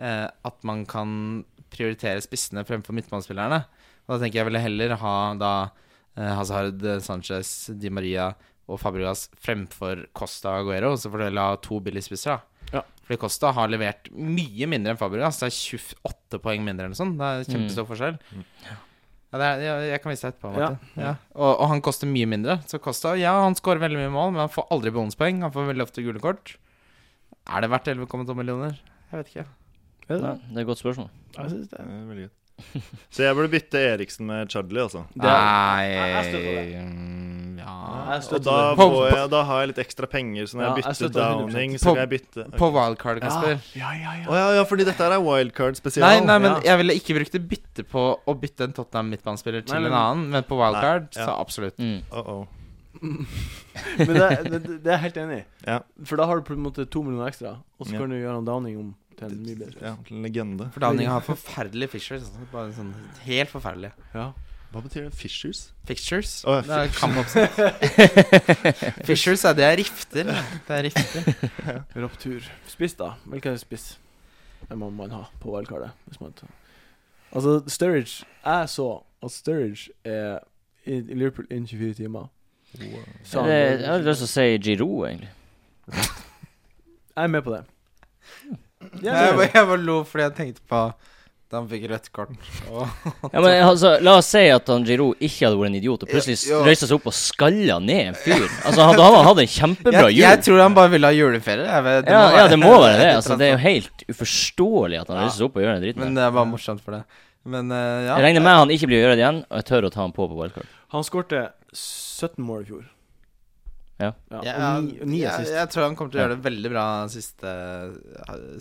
Speaker 2: eh, at man kan prioritere spissene fremfor midtbanespillerne. Og da tenker jeg ville heller ha da eh, Hazard, Sanchez, Di Maria og Fabregas fremfor Costa og Aguero. Og så får du heller ha to billige spisser, da.
Speaker 1: Ja.
Speaker 2: Fordi Costa har levert mye mindre enn Fabregas. Det er 28 poeng mindre eller noe sånt. Det er kjempestor forskjell. Ja, det er, jeg, jeg kan vise deg etterpå. Martin. Ja. Og, og han koster mye mindre. Så Costa ja, han skårer veldig mye mål, men han får aldri bonuspoeng. Han får veldig ofte gule kort. Er det verdt 11,2 millioner? Jeg vet ikke.
Speaker 1: Er det
Speaker 3: Nei,
Speaker 1: det?
Speaker 3: det er et godt spørsmål.
Speaker 1: Jeg synes
Speaker 4: Det
Speaker 1: det.
Speaker 4: er veldig godt. Så jeg burde bytte Eriksen med Chadley, altså.
Speaker 1: Det er, jeg støtter
Speaker 2: Nei mm, Ja
Speaker 1: jeg
Speaker 4: Og
Speaker 1: støtter
Speaker 4: da,
Speaker 1: det.
Speaker 2: På-
Speaker 4: får jeg, da har jeg litt ekstra penger, så
Speaker 1: Ja,
Speaker 4: når jeg
Speaker 1: jeg
Speaker 4: bytter
Speaker 1: støtter 100%.
Speaker 4: Downing, så
Speaker 2: På-
Speaker 4: kan jeg bytte Å
Speaker 2: På wildcard, Kasper.
Speaker 1: Ja, ja, ja.
Speaker 4: ja, ja, fordi dette her er wildcard spesial.
Speaker 2: Nei, nei, men
Speaker 1: Ja.
Speaker 2: jeg ville ikke brukt det bytte på å bytte en Tottenham midtbanespiller til
Speaker 1: Nei, men-
Speaker 2: en annen, men på wildcard,
Speaker 4: Nei, ja.
Speaker 2: så absolutt.
Speaker 3: Mm.
Speaker 4: Uh-oh.
Speaker 1: Men det, det, det er jeg helt enig i.
Speaker 4: Ja.
Speaker 1: For da har du på en måte to millioner ekstra, og så
Speaker 4: Ja.
Speaker 1: kan du gjøre han Downing om til en mye bedre.
Speaker 4: Ja, legende.
Speaker 2: For Downing har forferdelige fixtures. altså. Bare sånn helt forferdelige
Speaker 1: Ja.
Speaker 4: Hva betyr det? Fishers?
Speaker 2: fixtures.
Speaker 4: Å, ja,
Speaker 2: det er kampoppsett.
Speaker 4: [LAUGHS]
Speaker 2: [LAUGHS] fixtures er det er rifter. Det er rifter.
Speaker 1: Raptur. Spiss, da. Hvilken spiss Det må man ha på wildcardet? Hvis man tar. Altså, Sturridge Jeg så at Sturridge er i i Liverpool innen 24 timer. Så han-
Speaker 3: Det, jeg har lyst til å si Giroud, egentlig.
Speaker 1: Jeg er med på det.
Speaker 2: Nei, Jeg, bare- jeg bare lo fordi jeg tenkte på Da han fikk rødt kort. Og
Speaker 3: Ja, men altså, La oss si at han Giroud ikke hadde vært en idiot og plutselig
Speaker 2: Ja, ja.
Speaker 3: røyste seg opp og skalla ned en fyr. Altså, han- Da hadde han hatt en kjempebra
Speaker 2: jeg,
Speaker 3: jul.
Speaker 2: jeg tror han bare ville ha juleferie. Jeg vet,
Speaker 3: ja, ja, det må være det. Altså,
Speaker 2: et
Speaker 3: det er
Speaker 2: eller
Speaker 3: jo helt uforståelig at han
Speaker 2: Ja.
Speaker 3: reiser seg opp og gjør den
Speaker 2: annet. Men
Speaker 3: dritten. der.
Speaker 2: det var morsomt for det. Men eh, ja.
Speaker 3: Jeg regner med han ikke blir å gjøre det igjen, og jeg tør å ta han på på wildcard.
Speaker 1: Han skårte 17 mål i fjor.
Speaker 3: Ja.
Speaker 1: ja og ni, og ni
Speaker 2: jeg,
Speaker 1: assist.
Speaker 2: jeg tror han kommer til å gjøre det veldig bra siste,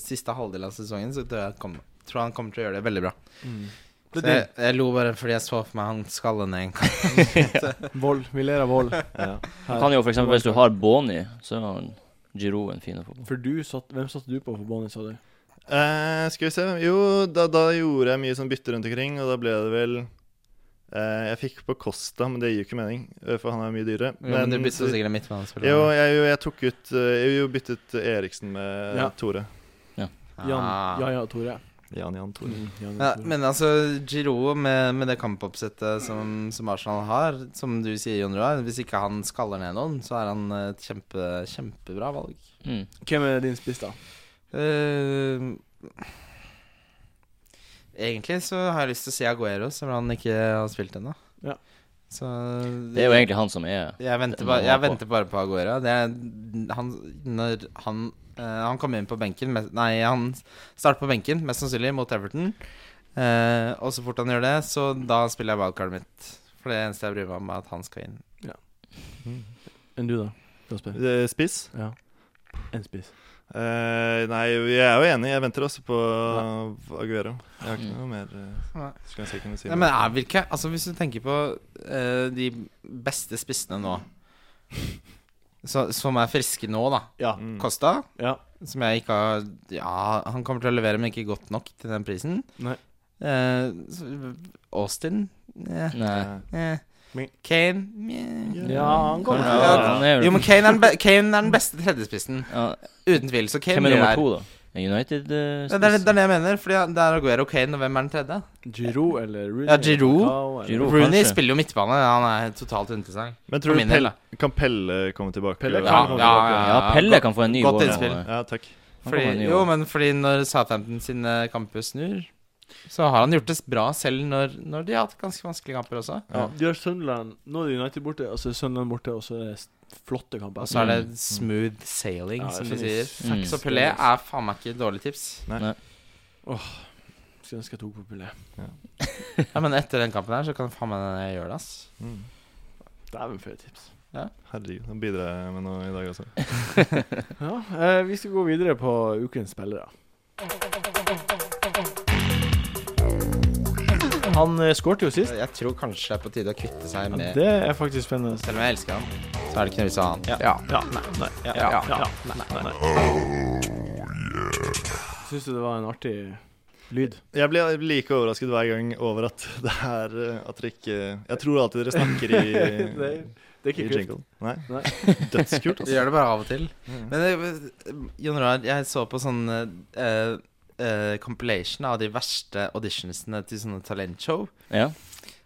Speaker 2: siste halvdel av sesongen. Så tror jeg, han kommer- tror han kommer til å gjøre det veldig bra. Så
Speaker 1: Mm. Det
Speaker 2: jeg,
Speaker 1: er
Speaker 2: jeg lo bare fordi jeg så for meg han skalle ned en kamp.
Speaker 1: vold. Vi ler av [LAUGHS] vold.
Speaker 3: Han kan jo for eksempel, Hvis du har Boni, så er han Giroud en fin å få på.
Speaker 1: For du satt Hvem satte du på for Bonnie, sa du?
Speaker 4: Eh, skal vi se Jo, da, da gjorde jeg mye sånn bytte rundt omkring, og da ble det vel eh, Jeg fikk på Costa, men det gir jo ikke mening, eh, for han er mye dyrere.
Speaker 2: Men, men du bytter
Speaker 4: så-
Speaker 2: jo sikkert midtbanespiller.
Speaker 4: jo, jeg, jo, jeg tok ut eh, Jeg jo byttet Eriksen med
Speaker 1: Ja.
Speaker 4: Tore.
Speaker 1: Jan,
Speaker 2: Ah.
Speaker 1: ja ja, Tore.
Speaker 4: Jan Jan Tore.
Speaker 1: Jan,
Speaker 2: Ja,
Speaker 1: Tore.
Speaker 2: men altså, Giroud med, med det kampoppsettet som, som Arsenal har, som du sier, Jon Roar Hvis ikke han skaller ned noen, så er han et kjempe, kjempebra valg.
Speaker 3: Mm.
Speaker 1: Hvem er din spiss, da?
Speaker 2: Eh, egentlig så har jeg lyst til å si Aguero, selv om han ikke har spilt ennå.
Speaker 1: Ja.
Speaker 2: Så
Speaker 3: Det er jo egentlig han som er
Speaker 2: Jeg venter,
Speaker 3: Det må
Speaker 2: bare,
Speaker 3: han
Speaker 2: jeg
Speaker 3: på.
Speaker 2: venter bare på Aguera. Det er, han, når han, eh, han kom inn på benken mest- Nei, han starter på benken, mest sannsynlig, mot Everton. Eh, og så fort han gjør det, så da spiller jeg wildcardet mitt. For det eneste jeg bryr meg om, er at han skal inn.
Speaker 1: Enn du, da? Kasper?
Speaker 4: Eh, Spiss?
Speaker 1: Ja. En spiss.
Speaker 4: Eh, nei, jeg er jo enig. Jeg venter også på Aguero. Jeg har ikke
Speaker 3: Mm.
Speaker 4: noe mer eh, Skal jeg se kunne si
Speaker 2: Nei,
Speaker 4: noe.
Speaker 2: men er vi ikke Altså, hvis du tenker på eh, de beste spissene nå så, Som er friske nå, da.
Speaker 1: Ja.
Speaker 4: Mm.
Speaker 2: Costa,
Speaker 1: Ja.
Speaker 2: som jeg ikke har Ja, han kommer til å levere, men ikke godt nok til den prisen.
Speaker 1: Nei.
Speaker 2: Eh, så- Austin? Eh.
Speaker 3: Nei.
Speaker 4: Eh,
Speaker 2: Eh.
Speaker 1: Men-
Speaker 2: Kane meh.
Speaker 1: Ja, han
Speaker 3: Han,
Speaker 1: kommer
Speaker 3: ja,
Speaker 1: til
Speaker 3: han er
Speaker 2: Jo,
Speaker 3: jo
Speaker 2: men Kane er, den be Kane er den beste tredjespissen.
Speaker 3: ja,
Speaker 2: Uten tvil. Så Kane
Speaker 3: Hvem er
Speaker 2: blir der.
Speaker 3: nummer to, da? En United eh,
Speaker 2: Ja, Det er,
Speaker 3: spiss?
Speaker 2: det er det jeg mener. Fordi det er Aguero Kane, og hvem er den tredje?
Speaker 1: Giroud eller Rooney?
Speaker 2: Ja, Giroud.
Speaker 1: Falcao, eller-
Speaker 3: Giroud. Jo,
Speaker 2: Rooney
Speaker 3: kanskje.
Speaker 2: spiller jo midtbane. Han er totalt interessant.
Speaker 4: Men tror
Speaker 2: For
Speaker 4: du
Speaker 2: min del,
Speaker 4: Pelle,
Speaker 2: da.
Speaker 4: kan Pelle komme tilbake?
Speaker 1: Pelle
Speaker 4: Eller?
Speaker 1: kan
Speaker 4: Han
Speaker 1: komme
Speaker 4: kommer
Speaker 2: Ja,
Speaker 4: tilbake.
Speaker 2: ja,
Speaker 3: Ja, Pelle kan få en ny
Speaker 2: Godt
Speaker 3: vår.
Speaker 2: innspill.
Speaker 3: Ja.
Speaker 4: Ja, takk.
Speaker 3: Han
Speaker 2: Fordi,
Speaker 3: kommer ny
Speaker 2: jo,
Speaker 3: år.
Speaker 2: men fordi når Southampton sine kamper snur, så har han gjort det bra selv når, når de har hatt ganske vanskelige kamper også.
Speaker 1: Ja. De har Sunderland Nå er det United borte, og så er Sunderland borte, og så er det flotte kamper.
Speaker 2: Og så er det smooth sailing,
Speaker 1: Mm. Ja,
Speaker 2: som
Speaker 1: det
Speaker 2: de
Speaker 1: er
Speaker 2: sier.
Speaker 1: sånn
Speaker 3: i seks
Speaker 2: Så Pelé er faen meg ikke et dårlig tips.
Speaker 1: Mm. Skulle ønske jeg tok på Pelé.
Speaker 2: Ja, Men etter den kampen her, så kan faen meg gjøre det, ass.
Speaker 4: Mm.
Speaker 1: Dæven, for et tips.
Speaker 4: Herregud, nå bidrar jeg med noe i dag også.
Speaker 1: Ja, eh, vi skal gå videre på ukens spillere. Han eh, skårte jo sist.
Speaker 2: Jeg tror kanskje det er på tide å kvitte
Speaker 1: Ja,
Speaker 2: seg med
Speaker 1: det er faktisk spennende.
Speaker 2: Selv om jeg elsker han, så er det ikke noe vits i å ha han.
Speaker 1: Ja. Ja. Nei. Nei. Ja. Ja. Ja.
Speaker 2: Ja.
Speaker 1: Nei. Nei. Syns du det var en artig lyd?
Speaker 4: Jeg blir like overrasket hver gang over at [LAUGHS] det er eh, At dere ikke Jeg tror alltid dere snakker [LAUGHS] i,
Speaker 1: [LAUGHS] det, det er
Speaker 4: i
Speaker 1: ikke kult.
Speaker 4: jingle. Nei.
Speaker 1: Nei.
Speaker 4: [LAUGHS] Dødskult,
Speaker 2: Vi
Speaker 4: altså.
Speaker 2: gjør det bare av og til.
Speaker 4: Mm.
Speaker 2: Men eh, Jon Roar, jeg så på sånn eh, eh, compilation av de verste auditionsene til sånne talentshow.
Speaker 3: Ja.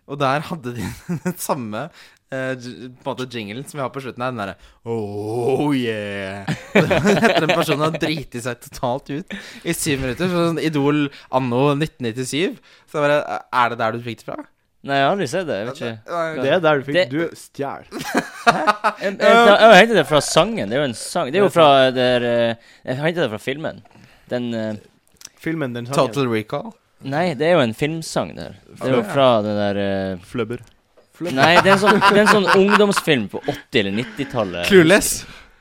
Speaker 2: Og der hadde de [LAUGHS] den samme eh, j- på en måte jinglen som vi har på slutten her. Den derre Oh yeah! [LAUGHS] Etter den personen har driti seg totalt ut i syv minutter. Sånn Idol anno 1997. Så jeg bare Er det der du fikk det fra?
Speaker 3: Nei, jeg har aldri sett det. Jeg vet ikke.
Speaker 1: Det er der du fikk
Speaker 3: Det-
Speaker 1: Du stjal.
Speaker 3: Jeg, jeg,
Speaker 2: Eh,
Speaker 3: jeg, jeg hentet det fra sangen. Det er jo en sang. Det er jo fra der eh, Jeg hentet det fra filmen. Den eh,
Speaker 1: Filmen den sangen.
Speaker 2: Total recall.
Speaker 3: Nei, det er jo en filmsang der. Det er jo fra den der eh,
Speaker 4: Flubber.
Speaker 1: Flø-
Speaker 3: Nei, det er en sånn, det er en sånn ungdomsfilm på 80- eller 90-tallet.
Speaker 2: Clueless.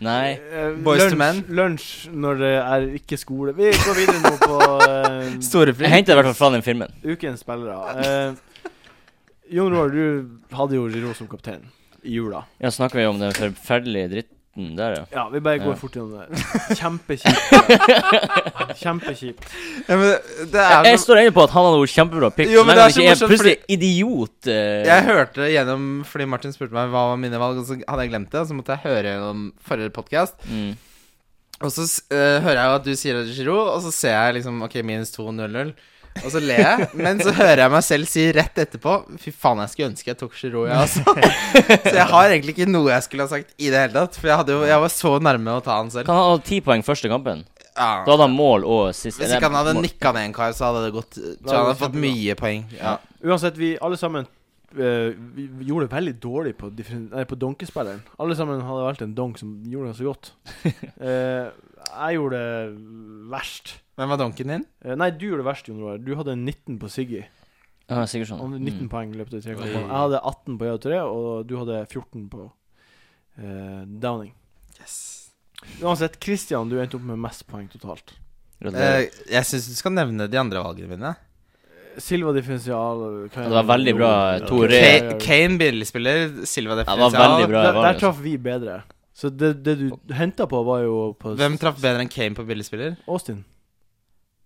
Speaker 3: Nei.
Speaker 1: Eh,
Speaker 2: Boys to
Speaker 1: lunsj-
Speaker 2: men.
Speaker 1: Lunsj når det er ikke skole. Vi går videre nå på
Speaker 2: Storefri.
Speaker 3: Jeg hentet det i hvert fall fra den filmen.
Speaker 1: eh, ukens spillere. Eh, Jon Roar, du hadde jo Giro som kaptein i jula.
Speaker 3: Ja, snakker vi om den forferdelige dritten der, ja.
Speaker 1: Ja, vi bare går
Speaker 3: Ja.
Speaker 1: fort gjennom det. Kjempekjipt. Kjempekjipt.
Speaker 2: Ja, men det er
Speaker 3: Jeg
Speaker 2: som-
Speaker 3: står enig på at han hadde vært kjempebra pick,
Speaker 2: Jo,
Speaker 3: så
Speaker 2: men
Speaker 3: lenge
Speaker 2: det
Speaker 3: han
Speaker 2: er så
Speaker 3: ikke er
Speaker 2: morsomt,
Speaker 3: plutselig idiot. eh,
Speaker 2: Jeg hørte det gjennom fordi Martin spurte meg hva var mine valg, og så hadde jeg glemt det. Og så måtte jeg høre gjennom forrige podkast.
Speaker 3: mm.
Speaker 2: Og så s- eh, hører jeg jo at du sier Giro, og så ser jeg liksom OK, minus 2-0-0. Og så ler jeg, men så hører jeg meg selv si rett etterpå Fy faen, jeg skulle ønske jeg tok Giro, jeg også. så jeg har egentlig ikke noe jeg skulle ha sagt i det hele tatt. For jeg, hadde jo, jeg var så nærme å ta han selv.
Speaker 3: Kan han ha ti poeng første kampen?
Speaker 2: Ja.
Speaker 3: Da hadde han mål og sist
Speaker 2: Hvis ikke han hadde
Speaker 3: mål.
Speaker 2: nikka ned en kar, så hadde det gått Så
Speaker 1: hadde
Speaker 2: han hadde
Speaker 1: det
Speaker 2: fått
Speaker 1: kjempebra.
Speaker 2: mye poeng. Ja.
Speaker 1: Uansett, vi alle sammen eh, vi vi gjorde det veldig dårlig på, differen- nei, på donkespilleren. Alle sammen hadde valgt en donk som gjorde det så
Speaker 2: [LAUGHS]
Speaker 1: godt. Eh, jeg gjorde det verst.
Speaker 2: Hvem var donken din?
Speaker 1: Eh, nei, du gjorde det verst, Jon Roar. Du hadde 19 på Siggy.
Speaker 3: Ja, Sigurdsson. Mm,
Speaker 1: Han hadde 19 poeng i løpet av de tre
Speaker 2: Oi.
Speaker 1: kampene. Jeg hadde 18 på JT3, og du hadde 14 på eh, Downing.
Speaker 2: Yes.
Speaker 1: Uansett, Christian, du endte opp med mest poeng totalt.
Speaker 3: Gratulerer.
Speaker 2: Eh, jeg syns du skal nevne de andre valgene mine.
Speaker 1: Silva differensial kan
Speaker 3: Ja, det var veldig
Speaker 1: Ja.
Speaker 3: bra, Tore.
Speaker 1: Ja, ja,
Speaker 2: Ka
Speaker 1: ja.
Speaker 2: Kane billigspiller, Silva
Speaker 3: det var veldig
Speaker 2: defensial.
Speaker 3: bra.
Speaker 1: Der,
Speaker 3: valg,
Speaker 1: der
Speaker 3: altså.
Speaker 1: traff vi bedre. Så det, det du henta på, var jo på
Speaker 2: Hvem traff bedre enn Kane på billigspiller?
Speaker 1: Austin.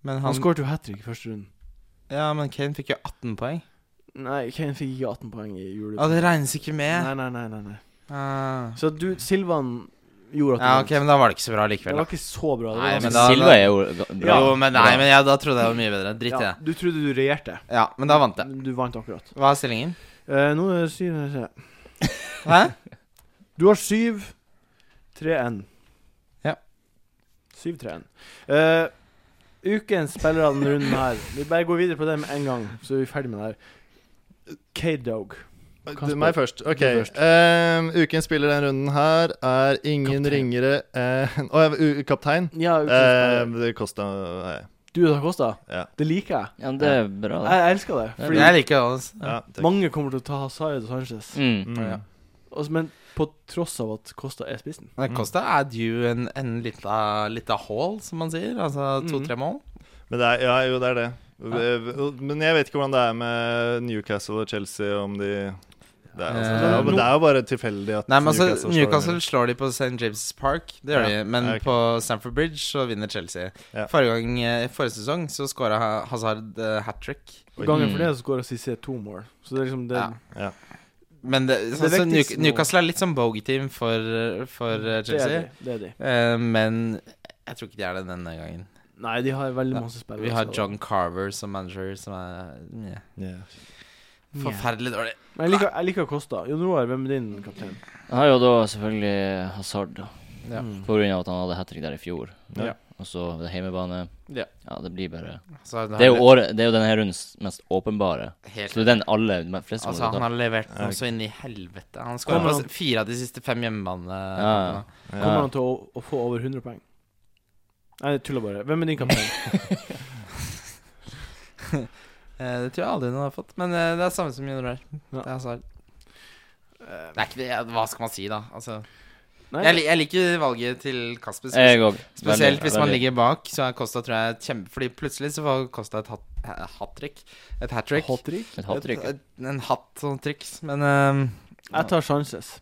Speaker 2: Men
Speaker 1: Han
Speaker 2: han,
Speaker 1: skåret jo hat trick i første runden.
Speaker 2: ja, men Kane fikk jo 18 poeng.
Speaker 1: Nei, Kane fikk ikke 18 poeng i juli.
Speaker 2: Ja, det regnes ikke med.
Speaker 1: nei, nei, nei, nei, nei.
Speaker 2: Ah.
Speaker 1: Så du, Silvan gjorde at du
Speaker 2: Ja,
Speaker 1: vant.
Speaker 2: ok, men da var det ikke så bra
Speaker 1: Det
Speaker 2: likevel.
Speaker 1: var
Speaker 2: Da.
Speaker 1: ikke så bra. Det var
Speaker 2: Nei, men
Speaker 1: ganske-
Speaker 2: da-
Speaker 3: Altså, Silva er jo ga- bra.
Speaker 2: Jo, men nei,
Speaker 3: Bra.
Speaker 2: men ja, da trodde jeg det var mye bedre. Drit i
Speaker 1: ja,
Speaker 2: det.
Speaker 1: Du trodde du regjerte.
Speaker 2: Ja, men da vant jeg.
Speaker 1: Du vant akkurat.
Speaker 2: Hva er stillingen?
Speaker 1: Eh, nå er det syv se.
Speaker 2: Hæ?
Speaker 1: Du har syv 3-1.
Speaker 2: Ja.
Speaker 1: 7-3-1. Eh, ukens spillere av denne runden her Vi bare går videre på det med en gang, så er vi ferdig med det her. K-Dog.
Speaker 4: Du, meg først. Ok.
Speaker 1: Du først.
Speaker 4: Ehm, ukens spiller denne runden her er ingen
Speaker 1: Kaptein.
Speaker 4: ringere enn Å, jeg var u- kaptein.
Speaker 1: Ja, ukens
Speaker 2: Eh,
Speaker 1: spiller.
Speaker 4: Ehm, det kosta nei.
Speaker 1: Du da, Kosta.
Speaker 4: Ja.
Speaker 1: Det liker jeg.
Speaker 3: Ja, men det er bra. da.
Speaker 1: Jeg jeg elsker det. Fordi
Speaker 2: Jeg liker det. altså.
Speaker 4: Ja, takk.
Speaker 1: mange kommer til å ta Hazard og Sanchez.
Speaker 3: Mm.
Speaker 4: Mm.
Speaker 2: Ja.
Speaker 1: Altså, men på tross av at Kosta er spissen.
Speaker 2: Men Costa er due en, en lita, lita haul, som man sier. Altså to-tre mål.
Speaker 4: Men det er, ja, jo, det er det. Men jeg vet ikke hvordan det er med Newcastle og Chelsea, om de Det er, altså, det er, jo- det er jo bare tilfeldig at
Speaker 2: Nei, men altså,
Speaker 4: slår
Speaker 2: Newcastle
Speaker 4: dem.
Speaker 2: slår de på St. James' Park, det gjør
Speaker 4: Ja,
Speaker 2: de. Men
Speaker 4: ja, ok.
Speaker 2: på Stamford Bridge så vinner Chelsea.
Speaker 4: Ja.
Speaker 2: Forrige, gang, eh, forrige sesong så skåra Hazard eh, hat trick.
Speaker 4: Oi.
Speaker 1: Gangen for det så skårer CC to mål. Så det er liksom det
Speaker 2: Mm. Ja. Men det,
Speaker 1: Det
Speaker 2: sånn, så New,
Speaker 1: viktigste nå-
Speaker 2: Newcastle er litt sånn bogey-team for, for eh,
Speaker 1: Det er de.
Speaker 2: Chelsea.
Speaker 1: Det er de.
Speaker 2: Eh, men jeg tror ikke de er det denne gangen.
Speaker 1: Nei, de har veldig
Speaker 2: Ja.
Speaker 1: masse altså. spillere.
Speaker 2: Vi har
Speaker 1: så-
Speaker 2: John Carver som manager, som er nja,
Speaker 4: Ja.
Speaker 2: forferdelig dårlig.
Speaker 1: Men jeg liker, jeg liker Kosta. Jon Roar, hvem er din kaptein?
Speaker 3: Jeg har jo da selvfølgelig Hazard, da.
Speaker 2: Ja.
Speaker 1: Mm.
Speaker 3: På grunn av at han hadde hat trick der i fjor.
Speaker 4: Ja.
Speaker 3: Og så det er heimebane.
Speaker 2: Ja.
Speaker 3: Ja, det blir bare
Speaker 2: Så
Speaker 3: Det er jo, året, det er jo denne her rundens mest åpenbare.
Speaker 2: helt
Speaker 3: Så det er den alle de fleste
Speaker 2: Altså, han
Speaker 3: kommer til å ta.
Speaker 2: har levert
Speaker 4: Ja.
Speaker 2: noe så inn i helvete. Han skåra
Speaker 1: Kommer
Speaker 2: på
Speaker 1: han-
Speaker 2: s- fire av de siste fem hjemmebane...
Speaker 3: Ja, ja.
Speaker 1: Kommer han til å, å få over 100 poeng? Nei, jeg tuller bare. Hvem er din kaptein?
Speaker 2: Eh, det tror jeg aldri noen har fått. Men eh, det er samme som Junior.
Speaker 1: Ja.
Speaker 2: Det er Hazard. Det er ikke det, Hva skal man si, da? Altså,
Speaker 1: Nei,
Speaker 2: jeg, li- jeg liker valget til Kasper. spes-
Speaker 3: Jeg òg.
Speaker 2: Spesielt hvis man ligger bak, så er Costa tror jeg et kjempe... Fordi plutselig så får Costa et hat trick. Et hat trick.
Speaker 1: hot trick.
Speaker 3: Et hattrykk.
Speaker 2: Et, et, en hatt sånn triks. Men eh,
Speaker 1: Jeg tar sjanses.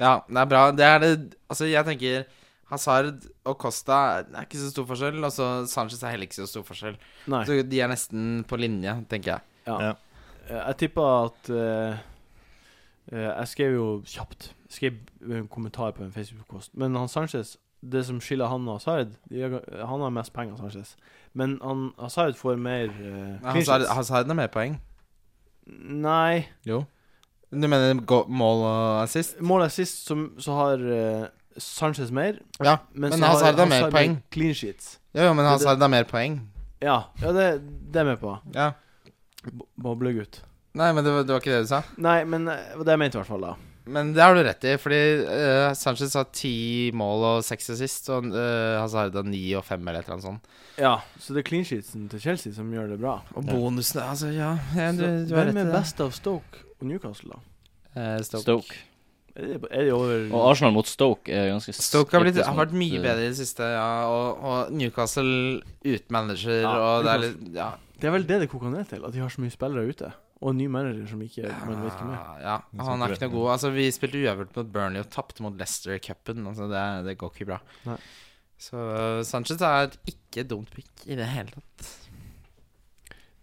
Speaker 2: ja, det er bra. Det er det Altså, jeg tenker Hazard og Costa er ikke så stor forskjell. Og så Sanchez er heller ikke så stor forskjell.
Speaker 1: Nei.
Speaker 2: Så de er nesten på linje, tenker jeg.
Speaker 1: Ja.
Speaker 4: Ja.
Speaker 1: Eh, Jeg tippa at eh, eh, Jeg skrev jo kjapt. Jeg skrev en kommentar på en Facebook-post. Men han Sanchez Det som skiller han og Hazard de er ga- Han har mest penger, Sanchez. Men han, Hazard får mer eh,
Speaker 2: Men
Speaker 1: clean
Speaker 2: Hazard,
Speaker 1: sheets.
Speaker 2: Hazard har mer poeng.
Speaker 1: Nei.
Speaker 2: Jo. Du mener gå- mål og assist?
Speaker 1: Målet sist, som, så har eh, Sanchez mer.
Speaker 2: Ja. Men
Speaker 1: så
Speaker 2: Hazard har mer poeng.
Speaker 1: Clean sheets.
Speaker 2: Jo, jo men
Speaker 1: Men det-
Speaker 2: Hazard har mer poeng.
Speaker 1: Ja, ja det, det er jeg med på.
Speaker 2: Ja.
Speaker 1: Bo- Boblegutt.
Speaker 2: Nei, men det var, det var ikke det du sa.
Speaker 1: Nei, men eh, det var det jeg mente i hvert fall, da.
Speaker 2: Men det har du rett i, fordi eh, Sanchez har ti mål og seks assist, og eh, Hazard har ni og fem eller et eller annet sånt.
Speaker 1: Ja, så det er clean sheetsen til Chelsea som gjør det bra.
Speaker 2: Og bonusene Altså, ja, ja du,
Speaker 1: Så
Speaker 2: du
Speaker 1: Hvem
Speaker 2: har rett i
Speaker 1: er
Speaker 2: det.
Speaker 1: best av Stoke og Newcastle, da?
Speaker 2: Eh, Stoke. Stoke.
Speaker 3: Stoke.
Speaker 1: Er de, er de over
Speaker 3: Og Arsenal mot Stoke er ganske
Speaker 2: har, blitt,
Speaker 3: skeptisk
Speaker 2: har
Speaker 3: mot,
Speaker 2: vært mye
Speaker 3: eh,
Speaker 2: bedre i det siste, ja. Og, og Newcastle uten manager,
Speaker 1: Ja,
Speaker 2: og det er
Speaker 1: Newcastle.
Speaker 2: litt Ja.
Speaker 1: Det er vel det det koker ned til, at de har så mye spillere ute. Og en ny manager som ikke man vet hvem er.
Speaker 2: ja,
Speaker 4: Det er
Speaker 2: han er
Speaker 4: sant,
Speaker 2: ikke noe god. Altså, vi spilte uavgjort mot Burnley og tapte mot Leicester i cupen. Altså, det, er- det går ikke bra.
Speaker 1: Nei.
Speaker 2: Så eh, Sanchez er et ikke dumt pick i det hele tatt.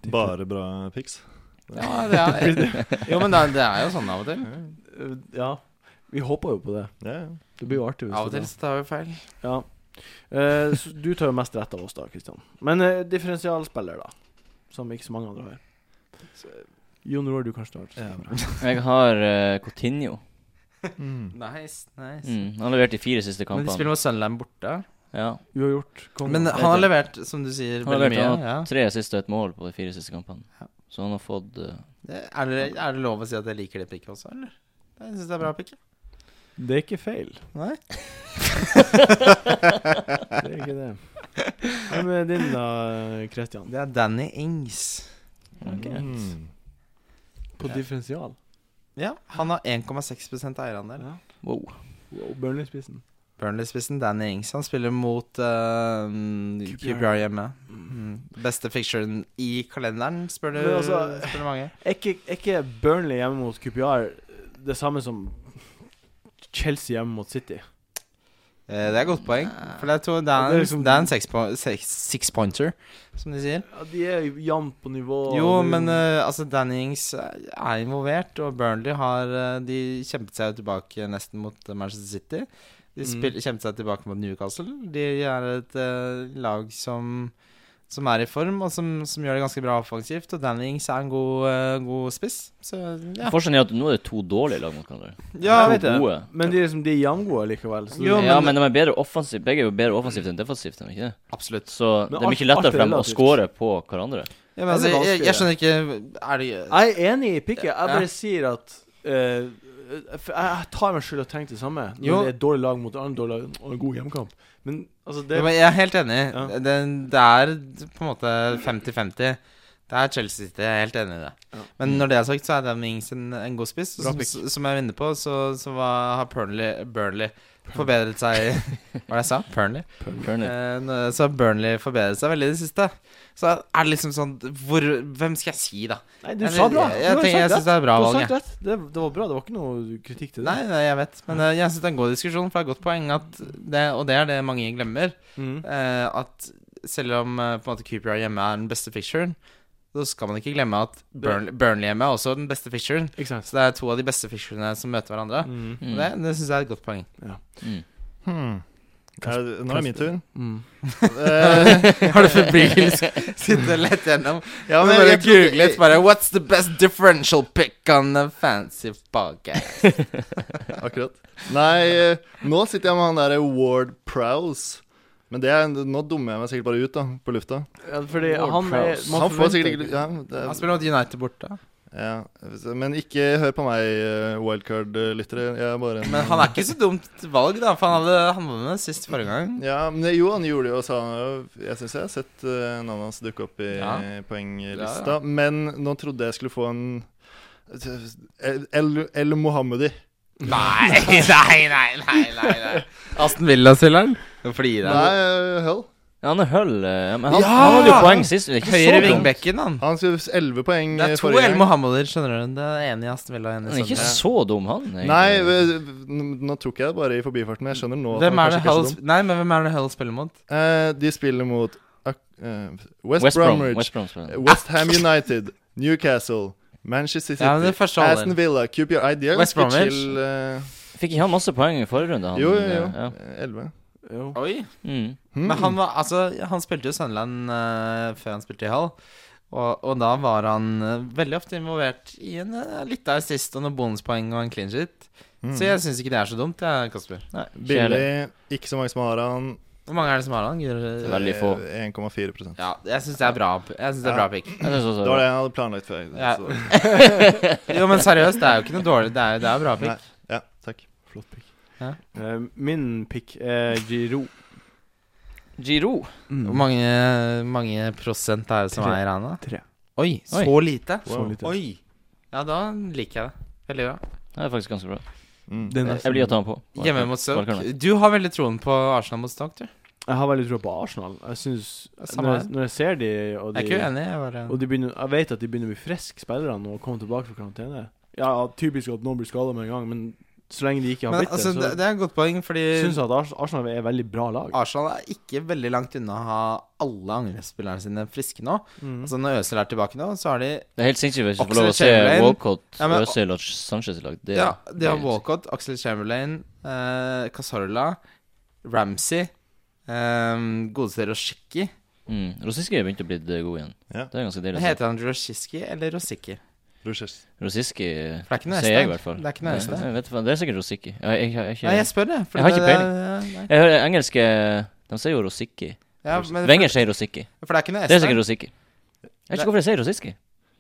Speaker 4: Bare bra pics.
Speaker 2: Ja, det er, [LAUGHS] jo, men det er, det er jo sånn av og til.
Speaker 1: Eh, Ja. Vi håper jo på det.
Speaker 4: Ja, ja.
Speaker 1: Det blir jo artig. hvis
Speaker 2: Av og
Speaker 1: det
Speaker 2: til så tar vi feil.
Speaker 1: blir. Ja. Eh, så du tar jo mest rett av oss, da, Kristian. Men eh, differensialspiller, da. Som ikke så mange andre har. Jon Roar, du kanskje tar.
Speaker 4: Ja,
Speaker 3: Jeg har eh, Coutinho.
Speaker 4: Mm.
Speaker 2: Nice, nice.
Speaker 3: Mm. Han leverte i fire siste
Speaker 2: Men de
Speaker 3: kampene.
Speaker 2: spiller mot Sunderland borte.
Speaker 3: Ja.
Speaker 1: Uavgjort. kom.
Speaker 2: Men eh, han har levert, som du sier,
Speaker 3: Han har
Speaker 2: veldig
Speaker 3: levert
Speaker 2: mye.
Speaker 3: han
Speaker 2: Ja.
Speaker 3: Tre assist og et mål på de fire siste kampene.
Speaker 2: Ja.
Speaker 3: Så han har fått eh,
Speaker 2: Det- Er det, er det lov å si at jeg liker det prikket også, eller? Jeg syns det er bra pikk.
Speaker 1: Det er ikke feil.
Speaker 2: Nei.
Speaker 1: [LAUGHS] Det er ikke det. Hvem er din, da, Christian?
Speaker 2: Det er Danny Ings.
Speaker 4: Mm.
Speaker 1: På differensial?
Speaker 2: Ja, han har 1,6 eierandel.
Speaker 3: Wow.
Speaker 1: Wow, Burnley-spissen.
Speaker 2: Burnley-spissen Danny Ings Han spiller mot eh, QPR hjemme. Mm. Beste fictionen i kalenderen, spør du
Speaker 1: Men altså-
Speaker 2: spør du mange.
Speaker 1: Er ikke, er ikke Burnley hjemme mot QPR det samme som Chelsea hjemme mot City?
Speaker 2: Eh, Det er et godt poeng. For det er, to, det
Speaker 1: Det
Speaker 2: er
Speaker 1: er
Speaker 2: en,
Speaker 1: liksom-
Speaker 2: det er en sexpo- sex- six-pointer, som de sier.
Speaker 1: Ja, de er jo jevnt på nivå.
Speaker 2: Jo,
Speaker 1: og det-
Speaker 2: men eh, altså Dannings er involvert, og Burnley har eh, De kjempet seg jo tilbake nesten mot eh, Manchester City. De
Speaker 1: Mm.
Speaker 2: spil- kjempet seg tilbake mot Newcastle. De er et eh, lag som som er i form, og som, som gjør det ganske bra offensivt. Og Dannings er en god, eh, god spiss. Så ja.
Speaker 3: Forskjellen er at nå er det to dårlige lag mot hverandre.
Speaker 2: ja jeg
Speaker 3: to
Speaker 2: vet det.
Speaker 3: gode.
Speaker 1: Men de er liksom, de er jevngode likevel. Så
Speaker 2: Jo, men-
Speaker 3: ja, men de er bedre offensivt. Begge er jo bedre offensivt enn defensivt. er de ikke det?
Speaker 2: Absolutt.
Speaker 3: Så det
Speaker 1: alt-
Speaker 3: er mye
Speaker 1: alt er
Speaker 3: lettere for dem å
Speaker 1: relativt.
Speaker 3: score på hverandre.
Speaker 2: Ja, men, altså,
Speaker 1: Det er
Speaker 2: jeg, jeg skjønner ikke Er det
Speaker 1: Jeg er enig i pikket. Jeg
Speaker 2: Ja.
Speaker 1: bare sier at eh, for Jeg tar meg selv og tenker det samme. Når
Speaker 2: Jo.
Speaker 1: det er et dårlig lag mot et annet dårlig lag og en god hjemmekamp. Men altså, det
Speaker 2: Jo, men Jeg er helt enig.
Speaker 1: Ja.
Speaker 2: Det, det er på en måte 50-50. Det er Chelsea City, jeg er helt enig i det.
Speaker 1: Ja.
Speaker 2: Men når det er sagt, så er Danny Ings en, en god spiss.
Speaker 1: Bra
Speaker 2: Som,
Speaker 1: pick.
Speaker 2: som jeg var inne på, så, så var, har Burnley, Burnley forbedret seg
Speaker 1: [LAUGHS]
Speaker 2: Hva var det jeg sa? Burnley?
Speaker 3: Burnley.
Speaker 2: Eh, nå- så har Burnley forbedret seg veldig i det siste. Så er det liksom sånn hvor, Hvem skal jeg si, da?
Speaker 1: Nei, du
Speaker 2: Eller,
Speaker 1: sa bra. Du har
Speaker 2: Jeg, jeg, tenker- jeg
Speaker 1: sagt
Speaker 2: syns det er et bra
Speaker 1: Du har
Speaker 2: valg, jeg.
Speaker 1: sagt rett. Det, det var bra. Det var ikke noe kritikk til det.
Speaker 2: Nei, nei, jeg vet. Men eh, jeg syns det er en god diskusjon, for det er et godt poeng at det, Og det er det mange glemmer.
Speaker 1: Mm.
Speaker 2: eh, at selv om eh, på en måte QPR hjemme er den beste ficturen, så skal man ikke glemme at Burnley, Burnley hjemme er også den beste ficturen.
Speaker 1: Ikke sant?
Speaker 2: Så det er to av de beste ficturene som møter hverandre.
Speaker 1: Mm.
Speaker 2: Og Det, det syns jeg er et godt poeng.
Speaker 3: Mm.
Speaker 4: Hmm. Er det- nå er det min tur.
Speaker 1: Mm.
Speaker 2: [LAUGHS] Har du febrilsk sittet og lett gjennom? Ja, men bare
Speaker 4: jeg tror-
Speaker 2: googlet bare 'What's the best differential pick on a fancy podcast?'
Speaker 4: [LAUGHS] Akkurat. Nei, eh, nå sitter jeg med han derre Ward Prowse. Men det er, nå dummer jeg meg sikkert bare ut da, på lufta.
Speaker 1: Ja, fordi
Speaker 3: Ward
Speaker 1: han er
Speaker 3: Prowse.
Speaker 1: man
Speaker 4: Han får
Speaker 1: forventer
Speaker 4: sikkert ikke ja,
Speaker 2: Han
Speaker 4: det,
Speaker 2: spiller mot United borte.
Speaker 4: ja. Men ikke hør på meg, eh, wildcard-lyttere. Jeg er bare en
Speaker 2: Men han er ikke så dumt valg, da, for han, hadde, han var med sist forrige gang.
Speaker 4: Ja, men jo, han gjorde det jo, sa han jo. Jeg syns jeg har sett eh, navnet hans dukke opp i
Speaker 2: Ja.
Speaker 4: poenglista.
Speaker 2: Ja, ja.
Speaker 4: Men nå trodde jeg skulle få en eh, El, El Mohammedi.
Speaker 2: Nei, [LAUGHS] nei, nei, nei. nei, nei. Aston Villa-spilleren? Hvorfor gir
Speaker 4: Nei, eh, Hull.
Speaker 3: Ja, han er Hull. eh, Men han,
Speaker 4: Ja!
Speaker 3: han hadde jo poeng sist. Det er ikke
Speaker 2: Høyre
Speaker 3: så dumt.
Speaker 2: vingbekken, han.
Speaker 4: Han skulle 11 poeng
Speaker 2: Det
Speaker 4: eh,
Speaker 2: er to
Speaker 4: forrige
Speaker 2: El
Speaker 4: gang.
Speaker 2: Mohammeder, skjønner du. Det er en i Aston Villa og en
Speaker 3: Han
Speaker 2: i
Speaker 3: er ikke
Speaker 2: Sandra.
Speaker 3: så dum, han. egentlig.
Speaker 4: Nei, v- n- nå tok jeg det bare i forbifarten. Jeg skjønner nå at
Speaker 2: Hvem
Speaker 4: han
Speaker 2: er
Speaker 4: kanskje
Speaker 2: det
Speaker 4: ikke
Speaker 2: Hull
Speaker 4: så dum.
Speaker 2: sp- Nei, men hvem er det Hull spiller mot?
Speaker 4: Eh, De spiller mot Ak- eh, West,
Speaker 3: West Brom.
Speaker 4: Bromwich,
Speaker 3: West Brom spiller han.
Speaker 4: West Ham United, Newcastle, Manchester City,
Speaker 2: Ja, men det er første halvdel.
Speaker 4: Aston Villa, QPR Nei, de er
Speaker 2: West
Speaker 4: ganske
Speaker 2: Bromwich.
Speaker 4: chill. eh,
Speaker 3: Fikk ikke han masse poeng i forrige runde? Han,
Speaker 4: jo, jo,
Speaker 3: eh,
Speaker 4: jo.
Speaker 3: Ja.
Speaker 4: 11.
Speaker 1: Jo.
Speaker 2: Oi.
Speaker 3: Mm.
Speaker 4: Hmm.
Speaker 2: Men han var Altså, han spilte jo Sunderland eh, før han spilte i Hull. Og, og da var han eh, veldig ofte involvert i en uh, lita assist og noen bonuspoeng og en clean shit.
Speaker 4: Mm.
Speaker 2: Så jeg syns ikke det er så dumt, jeg, Kasper.
Speaker 3: Nei, kjedelig.
Speaker 4: Billig. Ikke så mange som har han.
Speaker 2: Hvor mange er det som har han? Gjør-
Speaker 3: Veldig få.
Speaker 4: Eh, 1,4
Speaker 2: Ja, jeg syns det er bra. Jeg synes det er bra pick.
Speaker 3: Jeg synes også
Speaker 4: Det var det jeg hadde planlagt før.
Speaker 2: Ja.
Speaker 4: så-
Speaker 2: Jo, men seriøst, det er jo ikke noe dårlig. Det er jo det er bra pick.
Speaker 4: Nei. ja, takk.
Speaker 1: Flott pick.
Speaker 2: Ja.
Speaker 1: Eh, min pick er Mm. Giro.
Speaker 3: Giro.
Speaker 2: Hvor Mm. mange, mange prosent er det som
Speaker 1: Tre.
Speaker 2: eier han, da?
Speaker 1: Tre.
Speaker 2: Oi, så lite?
Speaker 1: Så
Speaker 4: Wow.
Speaker 1: lite.
Speaker 2: Oi. Ja, da liker jeg det. Veldig bra.
Speaker 3: Det er faktisk ganske bra.
Speaker 4: Mm.
Speaker 1: Det er
Speaker 3: Jeg
Speaker 1: nesten-
Speaker 3: jeg blir å ta han på.
Speaker 2: Hjemme mot Stoke.
Speaker 3: Wildcard.
Speaker 2: Du har veldig troen på Arsenal mot Stoke, du.
Speaker 1: Jeg har veldig tro på Arsenal. Jeg synes,
Speaker 2: Samme
Speaker 1: når, jeg,
Speaker 2: her.
Speaker 1: når jeg ser de, og
Speaker 2: Jeg
Speaker 1: de,
Speaker 2: er ikke uenig. Jeg bare
Speaker 1: og de begynner, jeg vet at de begynner å bli friske, spillerne, og komme tilbake fra karantene Ja, ja, Typisk at noen blir skada med en gang, men så lenge de ikke har
Speaker 2: Men
Speaker 1: blitt
Speaker 2: altså, det,
Speaker 1: det,
Speaker 2: det Ah, er et godt poeng, fordi
Speaker 1: så syns jeg at Ars- Arsenal er et veldig bra lag.
Speaker 2: Arsenal er ikke veldig langt unna å ha alle angrepsspillerne sine friske nå.
Speaker 1: Mm.
Speaker 2: Altså Når Øzil er tilbake nå, så har de
Speaker 3: Det er helt sinnssykt hvis vi får
Speaker 2: Oxlade
Speaker 3: lov å se
Speaker 2: Chamberlain.
Speaker 3: Walcott,
Speaker 2: Ja, men-
Speaker 3: Øzil og Sanchez i lag. Det,
Speaker 2: Ja, de har
Speaker 3: det-
Speaker 2: Walcott, Axel Chamberlain, eh, Cazorla, Ramsey, eh, godeste Roshiki.
Speaker 3: Mm. Rosiski begynte å bli eh, god igjen.
Speaker 4: Ja.
Speaker 3: Det er ganske deilig. å se.
Speaker 2: Heter han Roshiski eller Rosicki?
Speaker 4: Rogers.
Speaker 3: Rosiski
Speaker 2: For det er ikke noe
Speaker 3: sier jeg i
Speaker 2: Øystein.
Speaker 3: hvert fall.
Speaker 2: Det er ikke noe
Speaker 3: Nei,
Speaker 2: Øystein.
Speaker 3: jeg vet faen, Det er sikkert Rosiski. Jeg, jeg, jeg, jeg,
Speaker 2: Nei, jeg spør det.
Speaker 3: Jeg har ikke
Speaker 2: det- det- Nei.
Speaker 3: jeg hører engelske De sier jo Rosicki.
Speaker 2: Ja, men
Speaker 3: Wenger sier Rosicki.
Speaker 2: For det er ikke noe S
Speaker 3: Det er sikkert
Speaker 2: der.
Speaker 3: Rosicki. Jeg vet ikke hvorfor jeg sier Rosicki.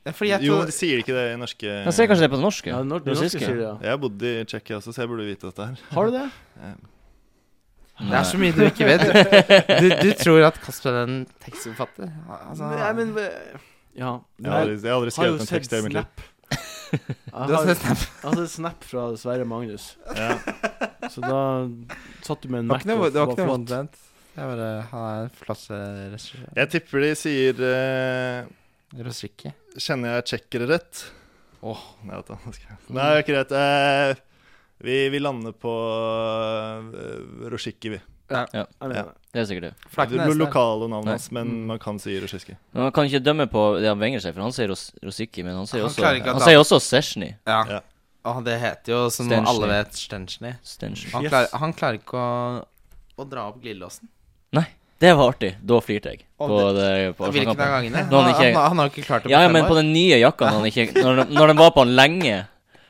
Speaker 2: Det er fordi jeg
Speaker 4: Jo,
Speaker 2: tror
Speaker 4: de sier ikke det i norske
Speaker 3: Jeg sier kanskje det på det norske.
Speaker 1: Ja, nor- norske
Speaker 3: Russiske.
Speaker 1: sier det, ja.
Speaker 4: Jeg har bodd i Tsjekkia også, så jeg burde vite dette her.
Speaker 1: Har du det?
Speaker 2: Det er så mye du ikke vet.
Speaker 3: [LAUGHS]
Speaker 2: Du, du tror at Kasper er en tekstforfatter? [LAUGHS] Altså,
Speaker 1: Nei, men eh, Ja.
Speaker 4: Jeg har aldri, jeg har
Speaker 1: har jo
Speaker 4: aldri skrevet en
Speaker 1: sett
Speaker 4: tekst i hele mitt liv.
Speaker 1: Snap. [LAUGHS] Jeg
Speaker 2: du har
Speaker 1: har,
Speaker 2: sett Snap?
Speaker 1: jeg har sett Snap fra Sverre Magnus,
Speaker 4: Ja.
Speaker 1: så da satt du med en
Speaker 2: Det var
Speaker 1: Mac.
Speaker 2: ikke noe,
Speaker 1: og
Speaker 2: det var ikke noe
Speaker 1: flott.
Speaker 2: omvendt. Det er bare Han er en eh, flasseregissør.
Speaker 4: Jeg tipper de sier eh,
Speaker 2: Rosicki.
Speaker 4: Kjenner jeg tsjekkere rett?
Speaker 2: Åh.
Speaker 4: Nei, vet du, hva skal jeg- Nei, det
Speaker 2: Mm.
Speaker 4: er ikke rett. Eh, vi, vi lander på uh, Rosjikki, vi.
Speaker 1: Jeg mener det.
Speaker 3: Det er sikkert det.
Speaker 2: For det Mm.
Speaker 4: Det
Speaker 2: er ikke noe S der.
Speaker 4: lokale navnet
Speaker 3: Nei.
Speaker 4: hans, men man kan si Rosjikki.
Speaker 3: Men man kan ikke dømme på det han Wenger sier, for han sier Ros Rosicki, men han sier
Speaker 2: Han
Speaker 3: også
Speaker 2: klarer ikke at
Speaker 3: Han
Speaker 2: han-
Speaker 3: sier også Sesjny.
Speaker 2: Ja.
Speaker 4: Ja.
Speaker 2: Og det heter jo, som
Speaker 3: Stenchny.
Speaker 2: alle vet, Stenchny.
Speaker 3: Stenchny.
Speaker 2: Han,
Speaker 1: Yes.
Speaker 2: klarer- han klarer ikke å, å dra opp glidelåsen.
Speaker 3: Det var artig. Da flirte jeg.
Speaker 2: Å,
Speaker 3: På det, på
Speaker 2: Hvilken av
Speaker 3: Arsenal-kampen.
Speaker 2: gangene?
Speaker 3: Nå
Speaker 2: Han,
Speaker 3: han ikke-
Speaker 2: han, han har jo ikke klart det på
Speaker 3: Ja, ja,
Speaker 2: fem
Speaker 3: men
Speaker 2: år.
Speaker 3: på den nye jakka når, han ikke, når, de- når den var på han lenge,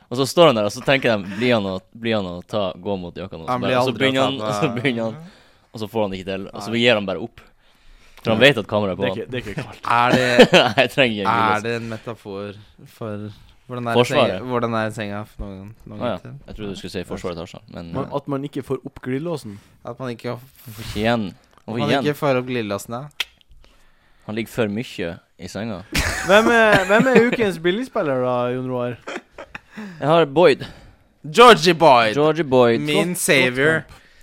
Speaker 3: og så står han der, og så tenker de Blir han å, blir han å ta, gå mot jakka nå?
Speaker 2: Han blir
Speaker 3: Så bare- Og
Speaker 2: aldri
Speaker 3: så
Speaker 2: å
Speaker 3: begynner han,
Speaker 2: ta
Speaker 3: og [LAUGHS] så
Speaker 2: på-
Speaker 3: begynner han Og så får han det ikke til. Og så gir han bare opp. For han vet at kameraet
Speaker 1: Det
Speaker 3: er på
Speaker 1: er
Speaker 3: han.
Speaker 1: ikke, det er
Speaker 3: [LAUGHS]
Speaker 1: ikke kaldt.
Speaker 2: Er det
Speaker 3: Nei, [LAUGHS] jeg trenger ikke
Speaker 2: Er
Speaker 3: lese.
Speaker 2: det en metafor for hvordan er
Speaker 3: Forsvaret.
Speaker 2: senga- Hvordan er senga for noen, noen
Speaker 3: Å ja.
Speaker 2: gutter?
Speaker 3: Jeg trodde du skulle si Forsvaret tar seg, men
Speaker 1: Man,
Speaker 3: eh,
Speaker 1: at man ikke får opp glidelåsen.
Speaker 2: At man ikke,
Speaker 3: hvorfor ikke igjen? Hvorfor
Speaker 2: man ikke
Speaker 3: ikke igjen?
Speaker 2: får opp glidelåsen, ja.
Speaker 3: Han ligger for mye i senga.
Speaker 1: Hvem er, hvem er ukens billigspiller, da, Jon Roar?
Speaker 3: Jeg har Boyd.
Speaker 2: Georgie Boyd!
Speaker 3: Georgie Boyd.
Speaker 2: Min savior.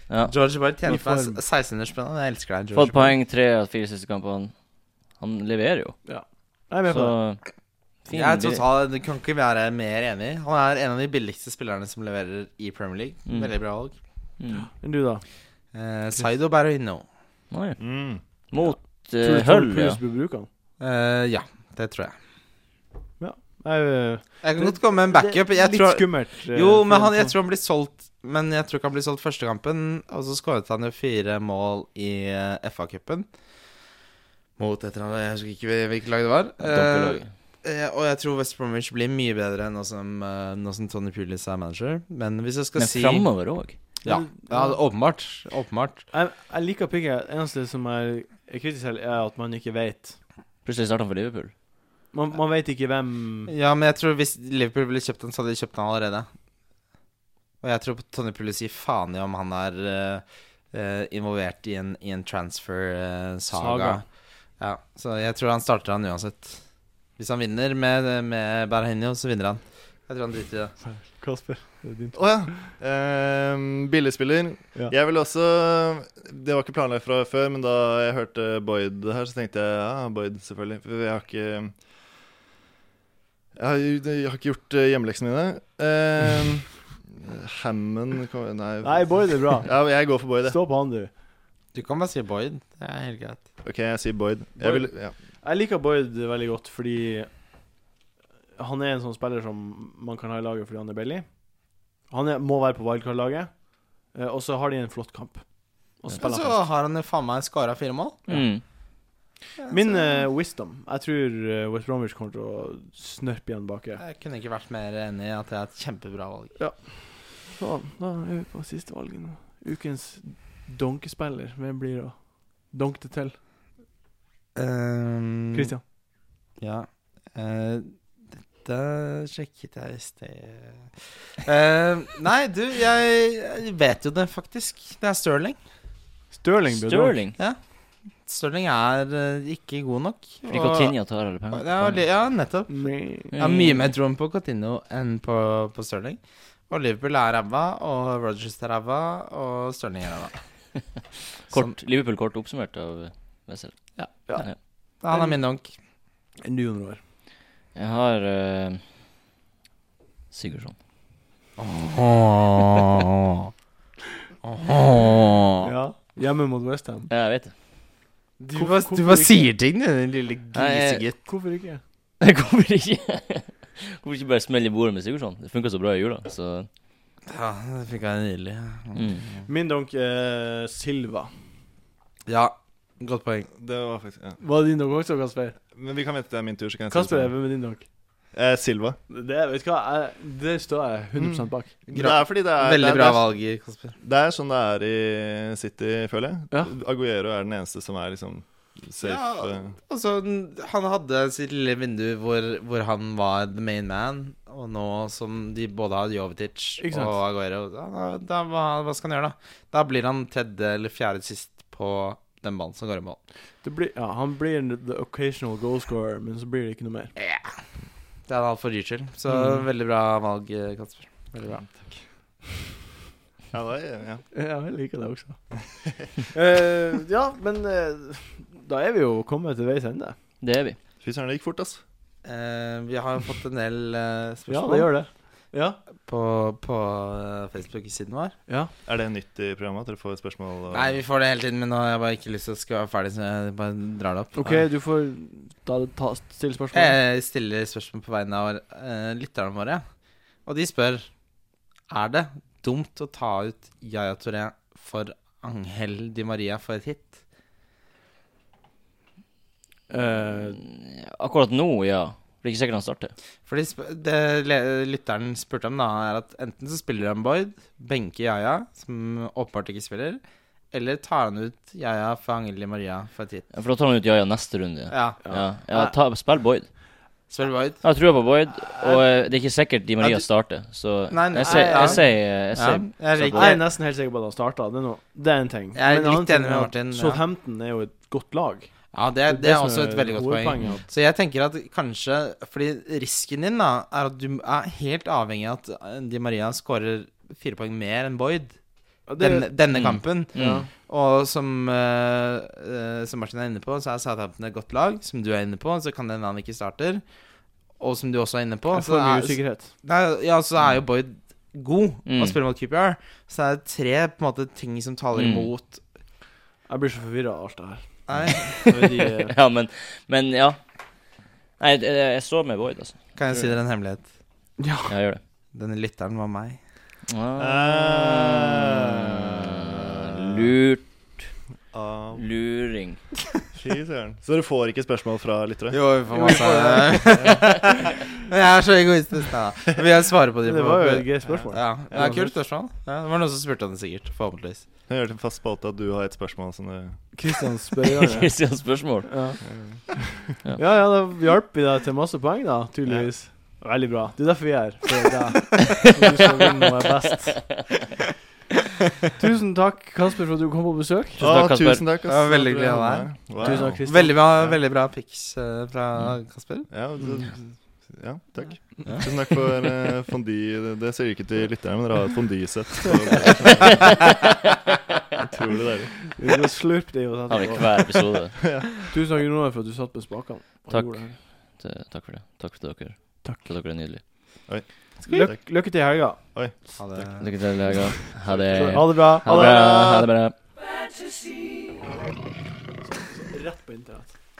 Speaker 3: Ja.
Speaker 2: Georgie Boyd tjener
Speaker 1: I
Speaker 2: for
Speaker 1: form.
Speaker 2: meg 1600-spenn, og jeg elsker deg,
Speaker 3: Fått
Speaker 2: Georgie. Boyd.
Speaker 3: poeng tre av fire siste kampene. Han leverer jo,
Speaker 1: Jeg er med på
Speaker 3: så
Speaker 1: det.
Speaker 3: fin
Speaker 2: Jeg er
Speaker 3: bil.
Speaker 2: total, Du kan ikke være mer enig. Han er en av de billigste spillerne som leverer i Premier League.
Speaker 3: Mm.
Speaker 2: Veldig bra valg.
Speaker 3: Mm.
Speaker 1: Men du, da?
Speaker 2: Eh, Saido Berahino.
Speaker 3: Nei.
Speaker 4: Mm.
Speaker 3: Mot eh,
Speaker 1: Tror du Tom
Speaker 3: Hull, ja.
Speaker 1: Cruise bør bruke han?
Speaker 2: Eh, ja, det tror jeg.
Speaker 1: Jeg, eh,
Speaker 2: Jeg kan
Speaker 1: Det-
Speaker 2: godt komme med en backup.
Speaker 1: det er
Speaker 2: Jeg
Speaker 1: litt
Speaker 2: tror,
Speaker 1: skummelt. eh,
Speaker 2: Jo, men
Speaker 1: for
Speaker 2: han,
Speaker 1: en
Speaker 2: jeg
Speaker 1: sånn-
Speaker 2: tror han blir solgt Men jeg tror ikke han blir solgt første kampen. Og så skåret han jo fire mål i eh, FA-cupen. Mot et eller annet Jeg husker ikke hvilket lag det var. Eh,
Speaker 3: Dobbeltlag.
Speaker 2: eh, og jeg tror West Bromwich blir mye bedre nå som, eh, nå som Tony Pulis er manager. Men hvis jeg skal
Speaker 3: Men
Speaker 2: si
Speaker 3: framover òg.
Speaker 2: ja, ja, åpenbart. Åpenbart.
Speaker 1: Jeg, jeg liker picket. Eneste som er, er kritisk til, er at man ikke vet.
Speaker 3: Plutselig starter han for Liverpool.
Speaker 1: Man, man vet ikke hvem
Speaker 2: Ja, men jeg tror hvis Liverpool ville kjøpt den, så hadde de kjøpt den allerede. Og jeg tror Tony Pulis gir faen i om han er eh, eh, involvert i en, i en transfer-saga.
Speaker 1: Saga.
Speaker 2: Ja, så jeg tror han starter han uansett. Hvis han vinner med, med Berhenio, så vinner han. Jeg tror han driter i det.
Speaker 1: Kasper, det er din
Speaker 4: Å ja. Ehm, billigspiller.
Speaker 1: Ja.
Speaker 4: Jeg vil også Det var ikke planlagt fra før, men da jeg hørte Boyd her, så tenkte jeg ja, Boyd, selvfølgelig. For jeg har ikke jeg har, jeg har ikke gjort eh, hjemmeleksene mine.
Speaker 1: [LAUGHS]
Speaker 4: Ehm, Hammond kom, Nei.
Speaker 1: Nei, Boyd er bra.
Speaker 4: Ja, jeg går for Boyd. jeg.
Speaker 1: Stå på han, du.
Speaker 2: Du kan bare si Boyd. Det er helt greit.
Speaker 4: OK, jeg sier Boyd. Jeg vil, ja.
Speaker 1: Jeg liker Boyd veldig godt fordi han er en sånn spiller som man kan ha i laget fordi han er billig. Han er, må være på wildcard-laget, eh, og så har de en flott kamp. Og så
Speaker 2: Men
Speaker 1: spiller
Speaker 2: så
Speaker 1: han fast.
Speaker 2: har han jo faen meg skåra fire mål.
Speaker 3: Mm.
Speaker 1: Min eh, wisdom Jeg tror eh, West Bromwich kommer til å snørpe igjen baki.
Speaker 2: Jeg kunne ikke vært mer enig i at det er et kjempebra valg.
Speaker 1: Så, da er vi på siste valget nå. Ukens donkespiller. Hvem blir å donke det til?
Speaker 2: Um,
Speaker 1: Christian.
Speaker 2: Ja. eh, dette sjekket jeg i sted Eh, Nei, du, jeg, jeg vet jo det faktisk. Det er Stirling.
Speaker 1: Stirling blir donk.
Speaker 3: Stirling.
Speaker 2: Stirling er eh, ikke god nok.
Speaker 3: Fordi
Speaker 2: og-
Speaker 3: Coutinho tar alle
Speaker 2: og-
Speaker 3: pengene. Mm.
Speaker 2: ja, li- ja, nettopp.
Speaker 1: Nei.
Speaker 2: Jeg har mye mer troen på Coutinho enn på, på Stirling. Og Liverpool er ræva, og Rogers er ræva, og Stirling er ræva. Sånn,
Speaker 3: [LAUGHS] Kort, Liverpool kort oppsummert av Wessel.
Speaker 2: han er min donk.
Speaker 1: En ny hundre år.
Speaker 3: Jeg har eh, Sigurdsson.
Speaker 2: [LAUGHS]
Speaker 1: Ja. Hjemme mot Westham.
Speaker 3: Ja, jeg vet det. [LAUGHS]
Speaker 2: Du
Speaker 1: Hvorfor-
Speaker 2: bare,
Speaker 1: hvorfor
Speaker 2: du bare
Speaker 1: ikke?
Speaker 2: sier ting, du, din lille
Speaker 3: Nei,
Speaker 2: grisegutt.
Speaker 1: Hvorfor ikke?
Speaker 3: Hvorfor ikke Hvorfor ikke bare smelle i bordet med Sigurdsson? Det funka så bra i jula, så
Speaker 2: Ja, det fikk jeg nydelig.
Speaker 3: mm.
Speaker 1: Min donk er Silva.
Speaker 2: Ja, godt poeng.
Speaker 4: Det var faktisk ja.
Speaker 1: Var det din donk også, Kasper?
Speaker 4: Men vi kan vente til det er min tur, så kan jeg si
Speaker 1: Kasper,
Speaker 4: det
Speaker 1: hvem er din donk?
Speaker 4: sånn. Eh, Silva.
Speaker 1: Det, vet du hva, jeg, det står jeg 100 bak.
Speaker 4: Det er fordi det er det,
Speaker 2: Veldig
Speaker 4: er-
Speaker 2: bra
Speaker 4: det,
Speaker 2: valg, Kasper.
Speaker 4: er, det er sånn det er i City, føler jeg.
Speaker 1: Ja.
Speaker 4: Aguero er den eneste som er liksom safe.
Speaker 2: Ja.
Speaker 4: eh.
Speaker 2: Altså, n- han hadde sitt lille vindu hvor, hvor han var the main man, og nå som de både har Jovetic
Speaker 1: Ikke sant?
Speaker 2: og Aguero da, da, da, hva, hva skal han gjøre, da? Da blir han tredje eller fjerde sist på den ballen som går i mål.
Speaker 1: Det blir, ja, han blir en- the occasional goalscorer, men så blir det ikke noe mer.
Speaker 2: Det er alt for dyrt skyld. Så
Speaker 1: Mm.
Speaker 2: veldig bra valg, eh, Kasper. Veldig bra.
Speaker 4: Ja, det er, ja.
Speaker 1: Ja, jeg liker det også. [LAUGHS] Eh, ja, men eh, da er vi jo kommet til veis ende.
Speaker 3: Det er vi.
Speaker 4: Fy søren, det gikk fort, ass.
Speaker 2: Eh, vi har jo fått en del
Speaker 1: Ja,
Speaker 2: eh, spørsmål
Speaker 1: det gjør det. Ja.
Speaker 2: på, på eh, Facebook-siden vår.
Speaker 1: ja.
Speaker 4: Er det nytt i programmet at dere får spørsmål? og-
Speaker 2: Nei, vi får det hele tiden, men nå har jeg bare ikke lyst til å skal være ferdig, så jeg bare drar det opp.
Speaker 1: OK, du får da ta, stille spørsmål.
Speaker 2: Jeg stiller spørsmål på vegne av eh, lytterne våre, og de spør Er det dumt å ta ut Yaya Touré for Angel Di Maria for et hit.
Speaker 1: Eh,
Speaker 3: Akkurat nå, ja. Det er ikke sikkert han starter.
Speaker 2: For de sp- det le- lytteren spurte om, da, er at enten så spiller han Boyd, benker Yaya, som åpenbart ikke spiller, eller tar han ut Yaya for Angel Di Maria for et hit.
Speaker 3: For da tar han ut Jaja neste runde. Ja,
Speaker 2: Ja.
Speaker 3: ja. ta, spill Boyd.
Speaker 2: Spiller Boyd.
Speaker 3: Jeg har trua på Boyd, og eh, det er ikke sikkert Di Maria
Speaker 2: Ja, du-
Speaker 3: starter, så
Speaker 2: Nei, nei,
Speaker 3: jeg sier
Speaker 2: ja.
Speaker 3: Jeg sier eh, jeg
Speaker 2: Ja,
Speaker 3: sier-
Speaker 2: jeg
Speaker 3: så-
Speaker 2: liker
Speaker 1: jeg er nesten helt sikker på at han starta. Det, er noe- det er en ting.
Speaker 2: Jeg er
Speaker 1: Men en annen
Speaker 2: litt enig
Speaker 1: ting
Speaker 2: med
Speaker 1: er at
Speaker 2: Martin, ja.
Speaker 1: Southampton er jo et godt lag.
Speaker 2: Ja, det, det er også et veldig godt poeng.
Speaker 1: hovedpoenget,
Speaker 2: Så jeg tenker at kanskje Fordi risken din da er at du er helt avhengig av at eh, Di Maria skårer fire poeng mer enn Boyd
Speaker 1: at- Ja, det-
Speaker 2: denne, denne
Speaker 3: Mm.
Speaker 2: kampen.
Speaker 1: ja.
Speaker 3: Mm.
Speaker 2: Og som, eh, eh, som Martin er inne på, så er Southampton et godt lag. Som du er inne på, så kan det hende han ikke starter. Og som du også er inne på,
Speaker 1: Jeg
Speaker 2: så
Speaker 1: får mye
Speaker 2: er,
Speaker 1: usikkerhet.
Speaker 2: nei, ja, så er jo Boyd god
Speaker 3: Mm.
Speaker 2: og spiller mot QPR. Så det er tre på en måte ting som taler
Speaker 3: Mm.
Speaker 2: imot.
Speaker 1: Jeg blir så forvirra av alt det
Speaker 2: [LAUGHS]
Speaker 1: her.
Speaker 2: Nei,
Speaker 1: Fordi, eh,
Speaker 3: [LAUGHS] ja, men, men ja. Nei, jeg, jeg står med Boyd, altså.
Speaker 2: kan jeg si dere en hemmelighet?
Speaker 1: ja.
Speaker 3: Jeg gjør det.
Speaker 2: Denne lytteren var meg. Eh.
Speaker 4: Ah.
Speaker 3: Lurt.
Speaker 4: Ah,
Speaker 2: [LAUGHS]
Speaker 3: Luring.
Speaker 4: fy søren. Så dere får ikke spørsmål fra lyttere?
Speaker 2: Jo, vi får masse [LAUGHS] Men Jeg er så egoistisk, da. Men jeg svarer på de
Speaker 1: Det
Speaker 2: på-
Speaker 1: var jo et gøy spørsmål.
Speaker 2: Ja, ja Kult spørsmål. Ja, det var noen som spurte om det, sikkert. Forhåpentligvis.
Speaker 4: Jeg gjør det til en fast spalte at du har et spørsmål som du
Speaker 1: Kristian spør
Speaker 2: [LAUGHS]
Speaker 1: gjerne.
Speaker 3: Kristians spørsmål.
Speaker 1: Ja.
Speaker 3: Ja.
Speaker 1: ja, ja, da hjalp vi deg til masse poeng, da, tydeligvis. Veldig bra. Det er derfor vi er her. For deg. [LAUGHS] For du skal vinne noe best. [LAUGHS] Tusen takk, Kasper, for at du kom på besøk.
Speaker 3: Tusen takk,
Speaker 4: Ah,
Speaker 3: Kasper.
Speaker 4: Tusen takk, ass.
Speaker 2: Det var veldig hyggelig å være
Speaker 4: her. Wow.
Speaker 1: Tusen takk, Kristian.
Speaker 2: Veldig bra, veldig bra pics eh, fra
Speaker 1: Mm.
Speaker 2: Kasper.
Speaker 4: Ja, det, ja takk. Tusen takk for uh, fondy. Det, det sier ikke til lytterne, men dere har et fondysett. så det- Utrolig deilig.
Speaker 1: Vi skal slurpe det i oss
Speaker 3: Har vi
Speaker 1: etterpå.
Speaker 3: hver
Speaker 2: [LAUGHS]
Speaker 3: episode.
Speaker 1: Tusen takk Jonas, for at du satt med spakene. og
Speaker 3: Takk.
Speaker 1: gjorde det her.
Speaker 3: Eh, Takk for det. Takk for dere.
Speaker 1: Takk.
Speaker 3: For dere er nydelige.
Speaker 1: Lyk, lykke til i helga.
Speaker 2: Ha det.
Speaker 3: Lykke til, Lega. Ha det.
Speaker 1: Ha det bra.
Speaker 3: Ha det bra. Ha det bra.
Speaker 1: Rett på internett.